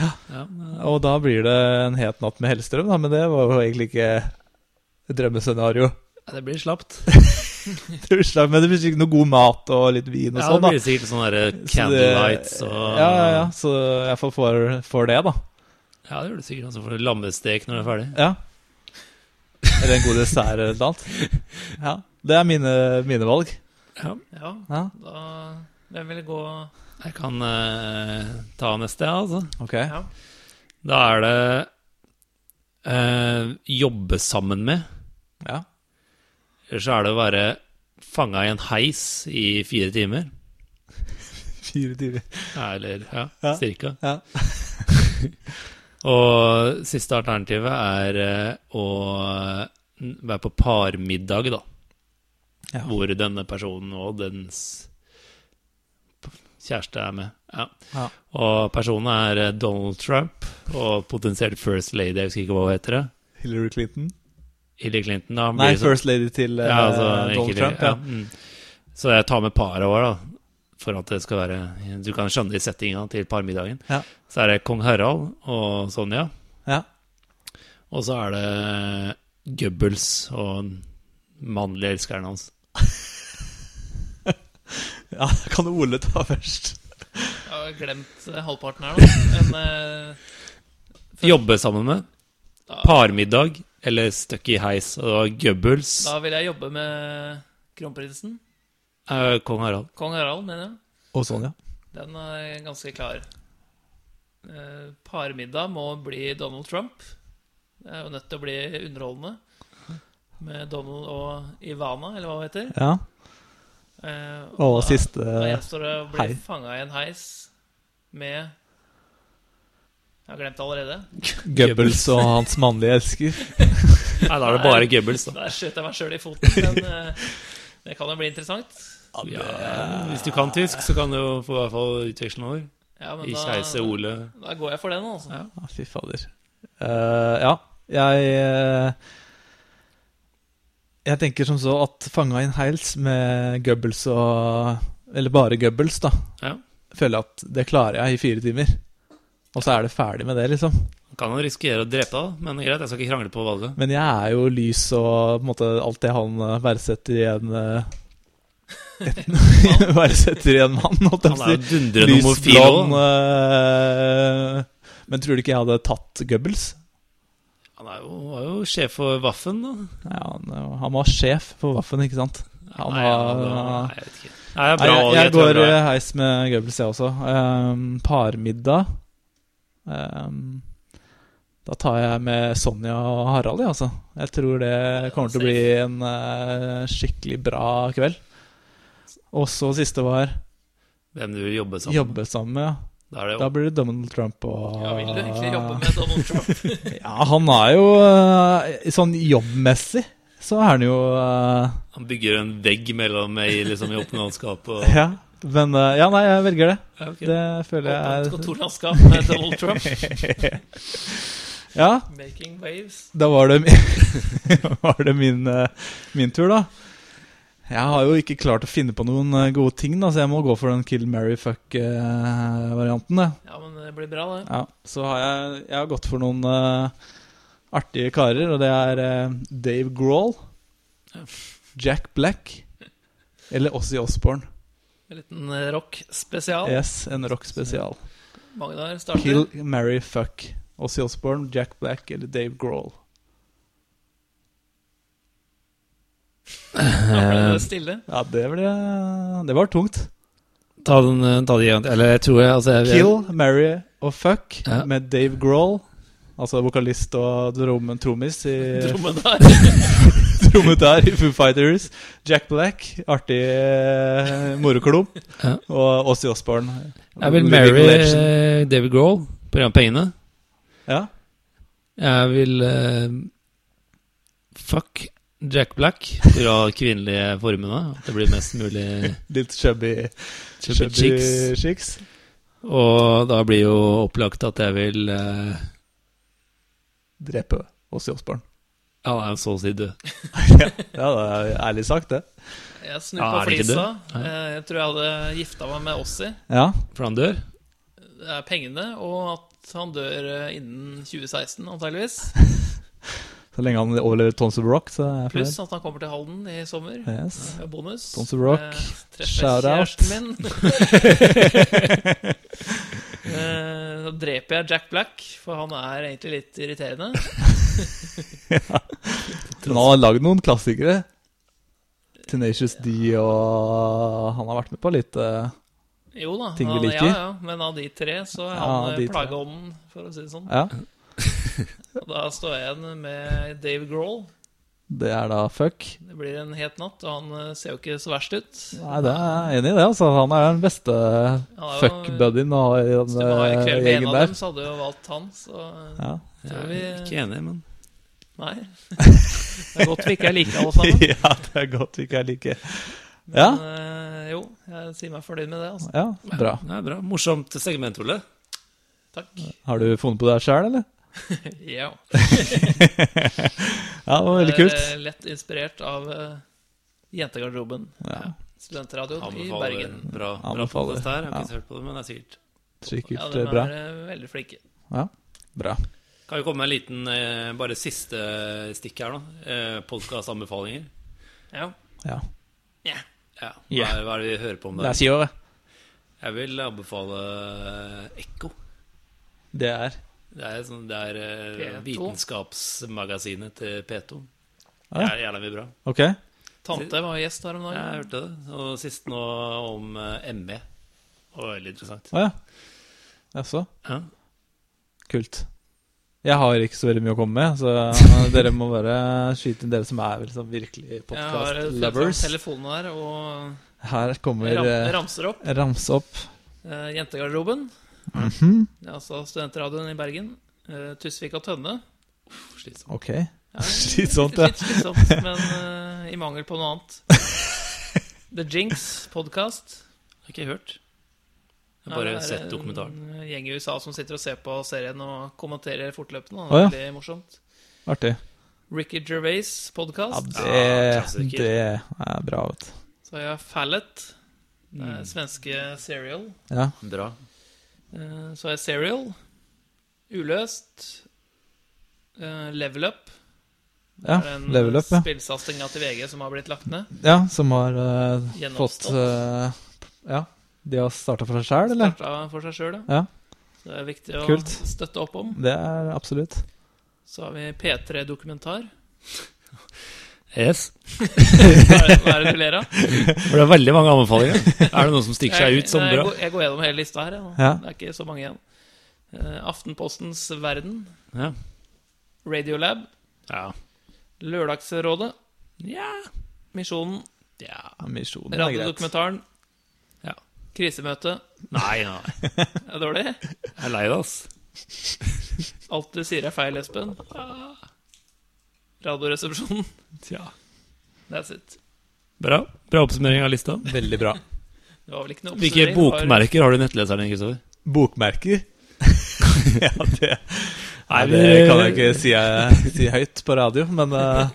Speaker 2: ja. eh,
Speaker 3: Og da blir det en het natt med Hellstrøm, da, men det var jo egentlig ikke et drømmescenario.
Speaker 2: Ja, Det blir slapt.
Speaker 3: Det blir slag, men det blir sikkert noe god mat og litt vin og
Speaker 2: Ja, det
Speaker 3: sånn, da.
Speaker 2: blir sikkert sånne der
Speaker 3: Så det-
Speaker 2: candlelights og
Speaker 3: Ja, ja, ja. Så jeg får for, for det, da.
Speaker 2: Ja, det gjør du sikkert. Altså, for lammestek når det er ferdig.
Speaker 3: Ja. Eller en god dessert eller noe annet. Ja. Det er mine, mine valg.
Speaker 2: Ja.
Speaker 1: Ja,
Speaker 3: Ja,
Speaker 1: da Hvem vil gå
Speaker 2: Jeg kan eh, ta neste, ja, altså.
Speaker 3: ok.
Speaker 1: Ja.
Speaker 2: Da er det eh, jobbe sammen med.
Speaker 3: Ja.
Speaker 2: Eller så er det å være fanga i en heis i fire timer.
Speaker 3: Fire timer.
Speaker 2: Ja, Eller ja,
Speaker 3: Ja.
Speaker 2: cirka.
Speaker 3: Ja.
Speaker 2: Og siste alternativet er eh, å n- være på parmiddag, da.
Speaker 3: Ja.
Speaker 2: Hvor denne personen og dens kjæreste er med. Ja.
Speaker 3: Ja.
Speaker 2: Og personen er eh, Donald Trump og potensielt First Lady, jeg husker ikke hva hun heter. det.
Speaker 3: Hillary Clinton?
Speaker 2: Hillary Clinton, da.
Speaker 3: Nei,
Speaker 2: blir sånn-
Speaker 3: First Lady til eh,
Speaker 2: Ja, altså,
Speaker 3: Donald
Speaker 2: ikke det-
Speaker 3: Trump. Ja.
Speaker 2: Mm. Så jeg tar med paret vår, da. For at det skal være Du kan skjønne i settinga til parmiddagen.
Speaker 3: Ja.
Speaker 2: Så er det kong Harald og Sonja.
Speaker 3: Ja.
Speaker 2: Og så er det Goebbels og den mannlige elskeren hans.
Speaker 3: Ja, det kan Ole ta først.
Speaker 1: Jeg har glemt eh, halvparten her nå. Men eh,
Speaker 2: Jobbe sammen med.
Speaker 1: da,
Speaker 2: Parmiddag eller støkk i heis. Og det var Goebbels,
Speaker 1: da vil jeg jobbe med kronprinsen.
Speaker 2: eh, kong Harald.
Speaker 1: Kong Harald, mener jeg.
Speaker 3: Og Sonja.
Speaker 1: Den er ganske klar. Eh, Parmiddag må bli Donald Trump. Det er jo nødt til å bli underholdende. Med Donald og Ivana, eller hva hun heter.
Speaker 3: Ja.
Speaker 1: Eh,
Speaker 3: Og
Speaker 1: da-
Speaker 3: siste
Speaker 1: Da gjenstår det å
Speaker 3: hei.
Speaker 1: bli fanga i en heis med Jeg har glemt det allerede.
Speaker 3: Goebbels og hans mannlige elsker.
Speaker 2: Nei, da er det bare Goebbels, da.
Speaker 1: Der skjøt jeg meg sjøl i foten, men eh, det kan jo bli interessant.
Speaker 2: Ja, hvis du kan tysk, så kan du jo få i hvert fall utveksle noen ord.
Speaker 1: Ja, men
Speaker 2: I
Speaker 1: da,
Speaker 2: Kjeise Ole.
Speaker 1: da går jeg for den, altså.
Speaker 2: Ja.
Speaker 3: Ja, Ah, fy fader. Eh, ja, jeg eh, Jeg tenker som så at fanga i en heils med Goebbels og Eller bare Goebbels, da.
Speaker 2: Ja.
Speaker 3: Føler jeg at det klarer jeg i fire timer. Og så er det ferdig med det, liksom.
Speaker 2: Kan jo risikere å drepe deg, da, men greit, jeg skal ikke krangle på valget.
Speaker 3: Men jeg er jo lys og på en måte alt det han eh, verdsetter i en eh, et- Verdsetter i en mann, holdt jeg
Speaker 2: Han
Speaker 3: på
Speaker 2: er
Speaker 3: å
Speaker 2: jo
Speaker 3: si.
Speaker 2: dundrende
Speaker 3: Lys,
Speaker 2: homofil
Speaker 3: blond
Speaker 2: òg.
Speaker 3: eh, Men tror du ikke jeg hadde tatt Goebbels?
Speaker 2: Han er jo, var jo sjef for Vaffen, da.
Speaker 3: Nei, han, eh, han var sjef for Vaffen, ikke sant? Han
Speaker 2: Nei,
Speaker 3: var-
Speaker 2: var- Nei, jeg vet ikke. Nei, det er
Speaker 3: Nei,
Speaker 2: bra,
Speaker 3: jeg,
Speaker 2: valg,
Speaker 3: jeg
Speaker 2: tror det
Speaker 3: går
Speaker 2: er bra.
Speaker 3: eh, heis med Goebbels, jeg også. Ehm, parmiddag Ehm, Da tar jeg med Sonja og Harald, jeg, altså. Jeg tror det kommer til å bli en eh, skikkelig bra kveld. Og så siste var
Speaker 2: Hvem du vil jobbe sammen med.
Speaker 3: jobbe sammen med. ja.
Speaker 2: Da er det jo
Speaker 3: Da blir det Donald Trump og
Speaker 1: Jeg vil jo egentlig jobbe med Donald Trump.
Speaker 3: Ja, han er jo eh, Sånn jobbmessig så er han jo eh,
Speaker 2: Han bygger en vegg mellom meg liksom, i åpenhetsskapet og
Speaker 3: Ja. Men eh, ja, nei, jeg velger det.
Speaker 2: ja, ok.
Speaker 3: Det føler
Speaker 1: Åpent
Speaker 3: jeg er
Speaker 1: kontorlandskap med Donald Trump.
Speaker 3: Ja,
Speaker 1: Making waves.
Speaker 3: da var det, mi- var det min, eh, min tur, da. Jeg har jo ikke klart å finne på noen eh, gode ting, da, så jeg må gå for den kill, marry, fuck-varianten.
Speaker 1: Ja, men det blir bra, det.
Speaker 3: ja, så har jeg, jeg har gått for noen eh, artige karer, og det er eh, Dave Grohl, Jack Black eller Ozzy Osbourne.
Speaker 1: En liten eh, rock-spesial.
Speaker 3: Yes, en rockspesial.
Speaker 1: Magnar starter.
Speaker 3: Kill, marry, fuck. Ozzy Osbourne, Jack Black eller Dave Grohl.
Speaker 1: Da ble
Speaker 3: Eh,
Speaker 1: det stille.
Speaker 3: Ja, det ble Det var tungt.
Speaker 2: Ta den eh, ta de igjen. Eller jeg tror jeg altså, jeg,
Speaker 3: Kill, Marry og Fuck
Speaker 2: Ja.
Speaker 3: med Dave Grohl. Altså vokalist og drom- trommis i
Speaker 1: Dromedar.
Speaker 3: trommetær i Foo Fighters. Jack Black, artig eh, moroklump.
Speaker 2: Ja.
Speaker 3: Og Åssi Osborn.
Speaker 2: jeg vil marry eh, David Grohl på grunn av pengene.
Speaker 3: Ja.
Speaker 2: Jeg vil eh, fuck Jack Black på grunn av kvinnelige formene. At det blir mest mulig
Speaker 3: Litt chubby,
Speaker 2: chubby chicks.
Speaker 3: chicks.
Speaker 2: Og da blir jo opplagt at jeg vil eh,
Speaker 3: Drepe Åssi Osborn.
Speaker 2: Han er jo så å si død.
Speaker 3: Ja, det er ærlig sagt, det.
Speaker 1: Jeg snur
Speaker 2: Ja,
Speaker 1: på
Speaker 2: er det ikke
Speaker 1: flisa.
Speaker 2: Nei.
Speaker 1: Eh, Jeg tror jeg hadde gifta meg med Ossi.
Speaker 3: Ja.
Speaker 2: For han dør.
Speaker 1: Det er pengene, og at han dør eh, innen 2016, antageligvis.
Speaker 3: Så lenge han overlever Tons of Rock, så er jeg
Speaker 1: Pluss
Speaker 3: fornøyd.
Speaker 1: at han kommer til Halden i sommer.
Speaker 3: Yes.
Speaker 1: Det er Bonus.
Speaker 3: Tons of Rock.
Speaker 1: Eh, treffer
Speaker 3: Shout out.
Speaker 1: kjæresten min. Eh, Da dreper jeg Jack Black, for han er egentlig litt irriterende.
Speaker 3: Men han har lagd noen klassikere. Tenacious D og Han har vært med på litt eh,
Speaker 1: Jo da,
Speaker 3: Ting vi
Speaker 1: han,
Speaker 3: liker.
Speaker 1: ja, ja, men av de tre så er
Speaker 3: Ja, av
Speaker 1: han
Speaker 3: de
Speaker 1: eh,
Speaker 3: tre.
Speaker 1: plageånden, for å si det sånn.
Speaker 3: Ja.
Speaker 1: Og da står jeg igjen med Dave Grohl.
Speaker 3: Det er da fuck.
Speaker 1: Det blir en het natt, og han eh, ser jo ikke så verst ut.
Speaker 3: Nei, det er jeg enig i det, altså. Han er den beste
Speaker 1: jo-
Speaker 3: fuck-buddyen i
Speaker 1: Hvis
Speaker 3: den
Speaker 1: du var i
Speaker 3: eh,
Speaker 1: kveld med en
Speaker 3: gjengen
Speaker 1: av
Speaker 3: der.
Speaker 1: dem, så hadde du jo valgt han, så eh,
Speaker 3: Ja.
Speaker 2: Jeg
Speaker 1: Tror vi-
Speaker 2: er ikke enig, men
Speaker 1: nei. Det er godt vi ikke er like alle sammen.
Speaker 3: ja, det er godt vi ikke er like
Speaker 1: Men
Speaker 3: Ja,
Speaker 1: eh, jo, jeg sier meg fornøyd med det, altså.
Speaker 3: ja, bra.
Speaker 2: Det er bra. Morsomt segment, Ole.
Speaker 1: Takk.
Speaker 3: Har du funnet på det sjøl, eller?
Speaker 1: Ja.
Speaker 3: Ja, det var veldig
Speaker 1: Jeg er,
Speaker 3: kult.
Speaker 1: eh, Lett inspirert av eh, Jentegarderoben.
Speaker 3: Ja,
Speaker 1: Studentradioen i
Speaker 2: Anbefaler
Speaker 1: Bergen.
Speaker 2: Bra, bra
Speaker 3: Anbefaler,
Speaker 2: podcast her. Jeg har
Speaker 3: ja.
Speaker 2: ikke hørt på det, men det er sikkert
Speaker 1: Ja,
Speaker 3: Sikkert
Speaker 1: de
Speaker 3: eh,
Speaker 1: er
Speaker 3: bra.
Speaker 1: eh, veldig flinke.
Speaker 3: Bra.
Speaker 2: Kan vi komme med en liten eh, bare siste stikk her, da? Eh, Podkastanbefalinger.
Speaker 1: Ja.
Speaker 3: Ja.
Speaker 1: Ja.
Speaker 2: Ja. Hva,
Speaker 3: Ja.
Speaker 2: er, hva er det vi hører på om
Speaker 3: Det er
Speaker 2: dagen?
Speaker 3: tiåret.
Speaker 2: Jeg vil anbefale eh, Ekko.
Speaker 3: Det er
Speaker 2: Det er, sånn, det er eh,
Speaker 1: P2.
Speaker 2: vitenskapsmagasinet til P2.
Speaker 3: Ah,
Speaker 2: Det
Speaker 3: ja.
Speaker 2: er jævla mye bra.
Speaker 3: Ok.
Speaker 1: Tante var gjest her om
Speaker 2: Ja, jeg
Speaker 1: dagen.
Speaker 2: hørte det. Og sist nå om eh, ME. Det var veldig interessant.
Speaker 3: Å ja. Jaså?
Speaker 2: Ja.
Speaker 3: Kult. Jeg har ikke så veldig mye å komme med, så dere må bare skyte inn dere som er liksom virkelig
Speaker 1: Jeg har eh, funnet
Speaker 3: podkast-lovers.
Speaker 1: fram telefonen her og
Speaker 3: Her kommer
Speaker 1: ram,
Speaker 3: eh,
Speaker 1: ramser opp.
Speaker 3: ramse opp.
Speaker 1: Eh, Jentegarderoben,
Speaker 3: Mhm.
Speaker 1: altså studentradioen i Bergen. eh, Tusvik og Tønne. Uff, slitsomt.
Speaker 3: Ok.
Speaker 1: Ja,
Speaker 3: Slitsomt,
Speaker 1: litt-
Speaker 3: ja.
Speaker 1: Litt slitsomt, men eh, i mangel på noe annet. The Jinx podcast.
Speaker 2: Har ikke hørt. Jeg
Speaker 1: Nei,
Speaker 2: har bare
Speaker 1: det er
Speaker 2: sett dokumentaren.
Speaker 1: En gjeng i USA som sitter og ser på serien og kommenterer fortløpende. Det er
Speaker 3: Å,
Speaker 1: Veldig morsomt.
Speaker 3: Artig.
Speaker 1: Ricky Gervais
Speaker 3: Ja,
Speaker 1: podkast.
Speaker 2: Ja,
Speaker 3: det,
Speaker 2: klassiker.
Speaker 3: det er bra, vet du.
Speaker 1: Så har jeg Fallet. Det
Speaker 2: Mm.
Speaker 1: er svenske Serial.
Speaker 3: Ja.
Speaker 2: Bra.
Speaker 1: Eh, Så har jeg Serial. Uløst. eh, Level Up.
Speaker 3: ja.
Speaker 1: Det er en eh,
Speaker 3: Level up, ja.
Speaker 1: Spillsatsinga til VG som har blitt lagt ned.
Speaker 3: ja som har eh, fått
Speaker 1: Gjenoppstått.
Speaker 3: eh, Ja. De har starta for seg sjæl, eller?
Speaker 1: Starta for seg sjøl,
Speaker 3: Ja.
Speaker 1: Så det er viktig å
Speaker 3: Kult.
Speaker 1: støtte opp om.
Speaker 3: Det er absolutt.
Speaker 1: Så har vi P3 Dokumentar.
Speaker 2: Yes.
Speaker 1: Hva er hva er det du ler av?
Speaker 2: For det er veldig mange anbefalinger. er det noen som stikker seg ut som
Speaker 1: Jeg, jeg,
Speaker 2: bra?
Speaker 1: går- jeg går gjennom hele lista her. Jeg, nå.
Speaker 3: Ja.
Speaker 1: Det er ikke så mange igjen. Eh, Aftenpostens Verden.
Speaker 2: Ja.
Speaker 1: Radiolab.
Speaker 2: ja.
Speaker 1: Lørdagsrådet.
Speaker 2: ja.
Speaker 1: Misjonen.
Speaker 2: ja.
Speaker 3: Misjonen er greit.
Speaker 1: Radiodokumentaren.
Speaker 2: Ja.
Speaker 1: Krisemøte.
Speaker 2: Nei, nei.
Speaker 1: Det Er dårlig?
Speaker 2: Jeg er lei det, ass.
Speaker 1: Alt du sier er feil, Espen. Radioresepsjonen.
Speaker 2: Tja.
Speaker 1: That's it.
Speaker 2: Bra. Bra oppsummering av lista.
Speaker 3: Veldig bra.
Speaker 1: Det var vel ikke noe
Speaker 2: Hvilke
Speaker 1: oppsummering, det var-
Speaker 2: bokmerker har du i nettleseren din, Kristoffer?
Speaker 3: Bokmerker? ja, det Nei,
Speaker 2: Nei,
Speaker 3: det
Speaker 2: vi-
Speaker 3: kan jeg ikke si, eh, si høyt på radio, men eh,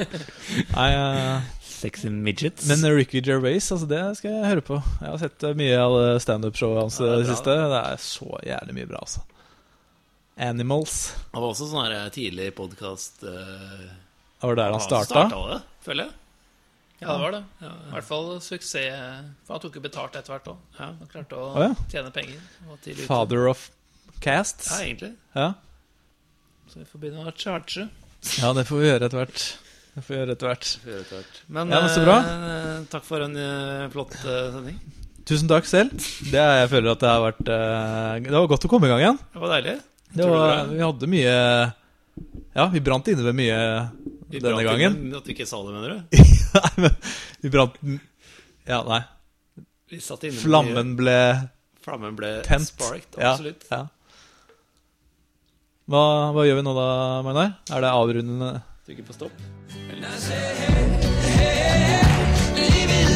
Speaker 3: Nei, eh,
Speaker 2: Sexy midgets.
Speaker 3: men eh, Ricky Gervais, altså det skal jeg høre på. Jeg har sett eh, mye av det standup-showet hans
Speaker 1: Ja, det er
Speaker 3: eh, det
Speaker 1: bra,
Speaker 3: siste. Det er så jævlig mye bra, altså. Animals.
Speaker 2: det var også sånn her tidlig podkast uh,
Speaker 3: Det var der han starta.
Speaker 2: det, føler jeg.
Speaker 1: Ja, det var det. I hvert fall suksess. For han tok jo betalt etter hvert òg. Han klarte å
Speaker 3: Å, ja.
Speaker 1: tjene penger. og var tidlig ute.
Speaker 3: Father of casts.
Speaker 2: Ja, egentlig.
Speaker 3: Ja.
Speaker 1: Så vi får begynne å charge.
Speaker 3: ja, det får vi gjøre etter hvert. Det får vi gjøre etter hvert.
Speaker 2: Men,
Speaker 3: Ja, men så bra.
Speaker 2: eh, takk for en eh, flott eh, sending.
Speaker 3: Tusen takk selv. Det er, jeg føler at det har vært eh, Det var godt å komme i gang igjen.
Speaker 2: Det var deilig.
Speaker 3: Det
Speaker 2: Tror du
Speaker 3: var,
Speaker 2: det?
Speaker 3: vi hadde mye Ja, vi brant inne med mye
Speaker 2: Vi
Speaker 3: denne
Speaker 2: brant
Speaker 3: gangen.
Speaker 2: inn At du ikke sa det, mener du?
Speaker 3: nei, men vi brant Ja, nei.
Speaker 2: Vi satt inne med mye-
Speaker 3: Flammen ble
Speaker 2: Flammen ble
Speaker 3: tent.
Speaker 2: sparked,
Speaker 3: Ja,
Speaker 2: absolutt.
Speaker 3: ja. Hva, hva gjør vi nå da, Magnar? Er det avrundende
Speaker 2: Trykker på stopp.
Speaker 5: Leave it